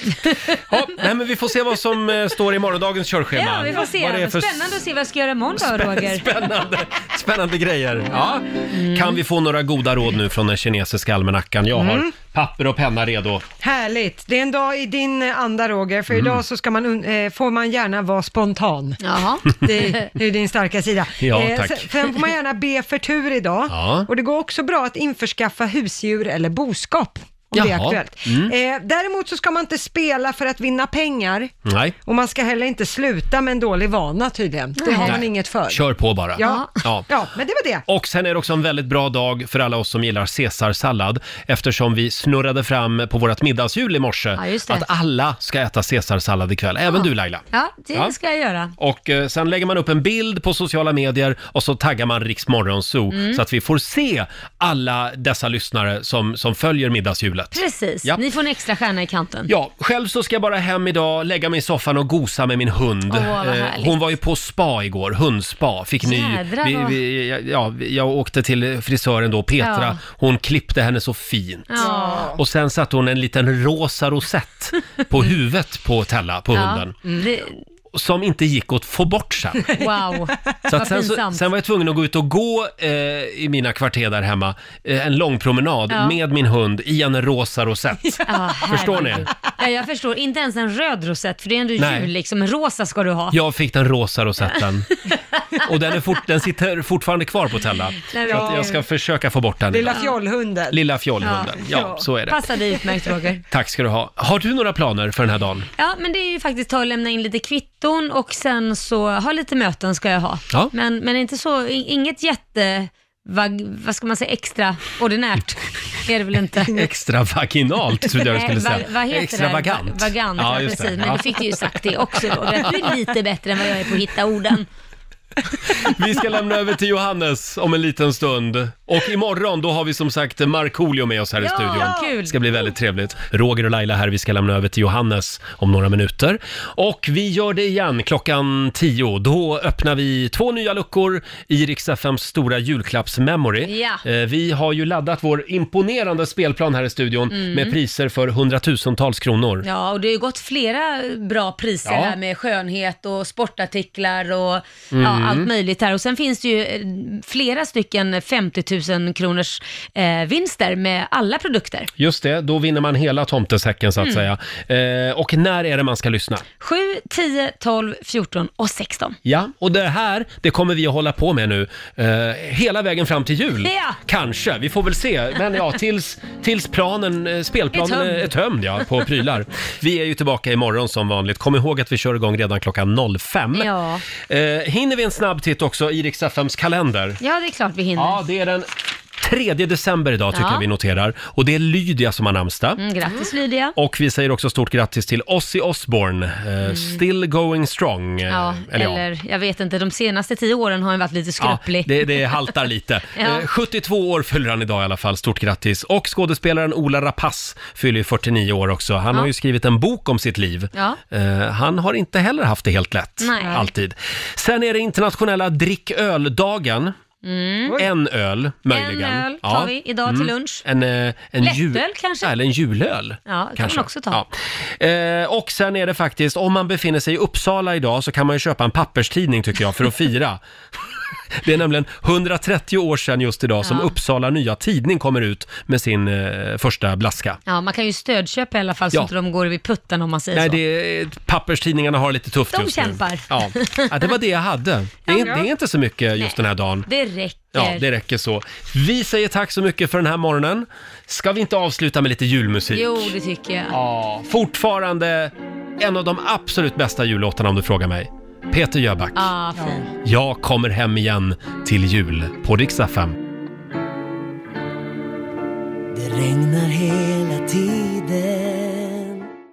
[SPEAKER 1] ja, nej, men vi får se vad som eh, står i morgondagens körschema.
[SPEAKER 4] Ja, vi får
[SPEAKER 1] Vad det är
[SPEAKER 4] se.
[SPEAKER 1] för
[SPEAKER 4] Spännande att se vad jag ska göra imorgon då, Roger.
[SPEAKER 1] Spännande, spännande grejer. Ja.
[SPEAKER 4] Mm.
[SPEAKER 1] Kan vi få några goda råd nu från den kinesiska almanackan? Jag
[SPEAKER 4] Mm.
[SPEAKER 1] har papper och penna redo.
[SPEAKER 2] Härligt, det är en dag i din eh, anda Roger, för idag så ska man, un- eh, får man gärna vara spontan.
[SPEAKER 4] Jaha.
[SPEAKER 2] Det är ju din starka sida. Eh,
[SPEAKER 1] Ja, tack.
[SPEAKER 2] sen, sen får man gärna be för tur idag.
[SPEAKER 1] Ja.
[SPEAKER 2] Och det går också bra att införskaffa husdjur eller boskap. Om det är
[SPEAKER 1] Jaha. Mm.
[SPEAKER 2] aktuellt. Eh, däremot så ska man inte spela för att vinna pengar.
[SPEAKER 1] Nej,
[SPEAKER 2] Och man ska heller inte sluta med en dålig vana tydligen. Det har
[SPEAKER 4] Nej.
[SPEAKER 2] man inget för.
[SPEAKER 1] kör på bara.
[SPEAKER 2] Ja.
[SPEAKER 1] Ja.
[SPEAKER 2] ja, men det var det.
[SPEAKER 1] Och sen är det också en väldigt bra dag för alla oss som gillar caesarsallad eftersom vi snurrade fram på vårt middagshjul i morse
[SPEAKER 4] Ja, just det.
[SPEAKER 1] att alla ska äta caesarsallad ikväll, även du Laila.
[SPEAKER 4] Ja, det
[SPEAKER 1] Ja.
[SPEAKER 4] ska jag göra.
[SPEAKER 1] Och eh, sen lägger man upp en bild på sociala medier och så taggar man
[SPEAKER 4] Mm.
[SPEAKER 1] Riksmorgonzoo så att vi får se alla dessa lyssnare som, som följer middagshjulet hjulet.
[SPEAKER 4] Precis,
[SPEAKER 1] Ja.
[SPEAKER 4] ni får en extra stjärna i kanten.
[SPEAKER 1] Ja, själv så ska jag bara hem idag, lägga mig i soffan och gosa med min hund.
[SPEAKER 4] Åh, vad
[SPEAKER 1] Eh,
[SPEAKER 4] härligt.
[SPEAKER 1] Hon var ju på spa igår, hundspa. Fick ny...
[SPEAKER 4] Jädrar,
[SPEAKER 1] Vi,
[SPEAKER 4] vad-
[SPEAKER 1] vi, ja, ja, vi- jag åkte till frisören då, Petra.
[SPEAKER 4] Ja.
[SPEAKER 1] Hon klippte henne så fint.
[SPEAKER 4] Ja.
[SPEAKER 1] Och sen satte hon en liten rosa rosett på huvudet på Tella, på hunden.
[SPEAKER 4] Mm. Det,
[SPEAKER 1] Som inte gick att få bort sen.
[SPEAKER 4] wow,
[SPEAKER 1] Så att
[SPEAKER 4] vad
[SPEAKER 1] sen, så,
[SPEAKER 4] pinsamt.
[SPEAKER 1] sen var jag tvungen att gå ut och gå eh, i mina kvarter där hemma, eh, en lång promenad
[SPEAKER 4] Ja.
[SPEAKER 1] med min hund i en rosa rosett.
[SPEAKER 4] Ja,
[SPEAKER 1] Förstår ni?
[SPEAKER 4] herregud. Ja, jag förstår. Inte ens en röd rosett, för det är ändå
[SPEAKER 1] Nej.
[SPEAKER 4] jul liksom. En rosa ska du ha.
[SPEAKER 1] Jag fick den rosa rosetten. Och den, är fort, den sitter fortfarande kvar på Tella.
[SPEAKER 4] Nej,
[SPEAKER 1] Så att
[SPEAKER 4] men-
[SPEAKER 1] jag ska försöka få bort den.
[SPEAKER 2] Lilla
[SPEAKER 1] idag.
[SPEAKER 2] fjollhunden.
[SPEAKER 1] Lilla fjollhunden. Ja,
[SPEAKER 2] Ja.
[SPEAKER 1] så är det.
[SPEAKER 4] Passar dig utmärkt Roger.
[SPEAKER 1] Tack ska du ha. Har du några planer för den här dagen?
[SPEAKER 4] Ja, men det är ju faktiskt ta och lämna in lite kvitton och sen så ha lite möten ska jag ha.
[SPEAKER 1] Ja.
[SPEAKER 4] Men, men inte så, i- inget jätte, vad, vad ska man säga, extra ordinärt är det väl inte.
[SPEAKER 1] Extra vaginalt, trodde jag du skulle
[SPEAKER 4] Nej,
[SPEAKER 1] säga.
[SPEAKER 4] vad, vad heter
[SPEAKER 1] Extra
[SPEAKER 4] det?
[SPEAKER 1] vagant.
[SPEAKER 4] Va- Vagant, ja,
[SPEAKER 1] just det.
[SPEAKER 4] precis. Men
[SPEAKER 1] Ja.
[SPEAKER 4] du fick ju sagt det också Roger, att du är lite bättre än vad jag är på att hitta orden.
[SPEAKER 1] Vi ska lämna över till Johannes om en liten stund. Och imorgon, då har vi som sagt Markoolio med oss här i
[SPEAKER 4] Ja,
[SPEAKER 1] studion.
[SPEAKER 4] kul.
[SPEAKER 1] Det ska bli väldigt trevligt. Roger och Laila här, vi ska lämna över till Johannes om några minuter. Och vi gör det igen klockan 10. Då öppnar vi två nya luckor i Rix FMs stora julklappsmemory.
[SPEAKER 4] Ja.
[SPEAKER 1] Eh, Vi har ju laddat vår imponerande spelplan här i studion med priser för hundratusentals kronor.
[SPEAKER 4] Mm. Ja, och det har ju gått flera bra priser
[SPEAKER 1] Ja.
[SPEAKER 4] här med skönhet och sportartiklar och
[SPEAKER 1] Mm.
[SPEAKER 4] ja, allt möjligt här. Och sen finns det ju eh, flera stycken 50 000 kronors eh, vinster med alla produkter.
[SPEAKER 1] Just det, då vinner man hela tomtesäcken så att
[SPEAKER 4] Mm.
[SPEAKER 1] säga. Eh, Och när är det man ska lyssna?
[SPEAKER 4] 7, 10, 12, 14 och 16.
[SPEAKER 1] Ja, och det här, det kommer vi att hålla på med nu eh, hela vägen fram till jul.
[SPEAKER 4] Ja.
[SPEAKER 1] Kanske, vi får väl se. Men ja, tills, tills planen, eh, spelplanen
[SPEAKER 4] Är
[SPEAKER 1] är
[SPEAKER 4] tömd.
[SPEAKER 1] tömd, är tömd ja, på prylar. Vi är ju tillbaka imorgon som vanligt. Kom ihåg att vi kör igång redan klockan 05.
[SPEAKER 4] Ja.
[SPEAKER 1] Eh, hinner vi en snabb titt också i Rix FMs kalender?
[SPEAKER 4] Ja, det är klart vi hinner.
[SPEAKER 1] Ja, det är den 3 december idag tycker
[SPEAKER 4] Ja.
[SPEAKER 1] jag vi noterar. Och det är Lydia som har namnsdag.
[SPEAKER 4] Mm, grattis Lydia.
[SPEAKER 1] Och vi säger också stort grattis till Ozzy Osbourne, eh, still going strong. eh,
[SPEAKER 4] Mm. Ja, eller,
[SPEAKER 1] ja.
[SPEAKER 4] jag vet inte, de senaste tio åren har han varit lite skröplig.
[SPEAKER 1] Ja, det, det haltar lite.
[SPEAKER 4] Ja.
[SPEAKER 1] Eh, 72 år fyller han idag i alla fall, stort grattis. Och skådespelaren Ola Rapace fyller ju 49 år också. Han har ju skrivit en bok om sitt liv.
[SPEAKER 4] Ja.
[SPEAKER 1] Eh, Han har inte heller haft det helt lätt,
[SPEAKER 4] Nej.
[SPEAKER 1] alltid. Sen är det internationella drick öl-dagen. En öl, möjligen.
[SPEAKER 4] Mm. En öl tar vi idag till lunch.
[SPEAKER 1] En, eh, en
[SPEAKER 4] Lättöl
[SPEAKER 1] jul-
[SPEAKER 4] kanske?
[SPEAKER 1] Ja, Eller en julöl.
[SPEAKER 4] Ja, det kan man också ta.
[SPEAKER 1] Ja. Eh, och sen är det faktiskt, om man befinner sig i Uppsala idag så kan man ju köpa en papperstidning tycker jag för att fira. Det är nämligen 130 år sedan just idag som
[SPEAKER 4] Ja.
[SPEAKER 1] Uppsala Nya Tidning kommer ut med sin eh, första blaska.
[SPEAKER 4] Ja, man kan ju stödköpa i alla fall
[SPEAKER 1] Ja.
[SPEAKER 4] så att de går vid putten om man säger
[SPEAKER 1] Nej,
[SPEAKER 4] så.
[SPEAKER 1] det är, papperstidningarna har det lite tufft
[SPEAKER 4] De
[SPEAKER 1] just nu.
[SPEAKER 4] kämpar.
[SPEAKER 1] Ja. ja, det var det jag hade. Det är, det är inte så mycket just den här dagen.
[SPEAKER 4] Det räcker.
[SPEAKER 1] Ja, det räcker så. Vi säger tack så mycket för den här morgonen. Ska vi inte avsluta med lite julmusik?
[SPEAKER 4] Jo, det tycker jag.
[SPEAKER 1] Ja, fortfarande en av de absolut bästa jullåtarna om du frågar mig. Peter Jöback.
[SPEAKER 4] Ah, fint.
[SPEAKER 1] Jag kommer hem igen till jul på Rix FM.
[SPEAKER 9] Det regnar hela tiden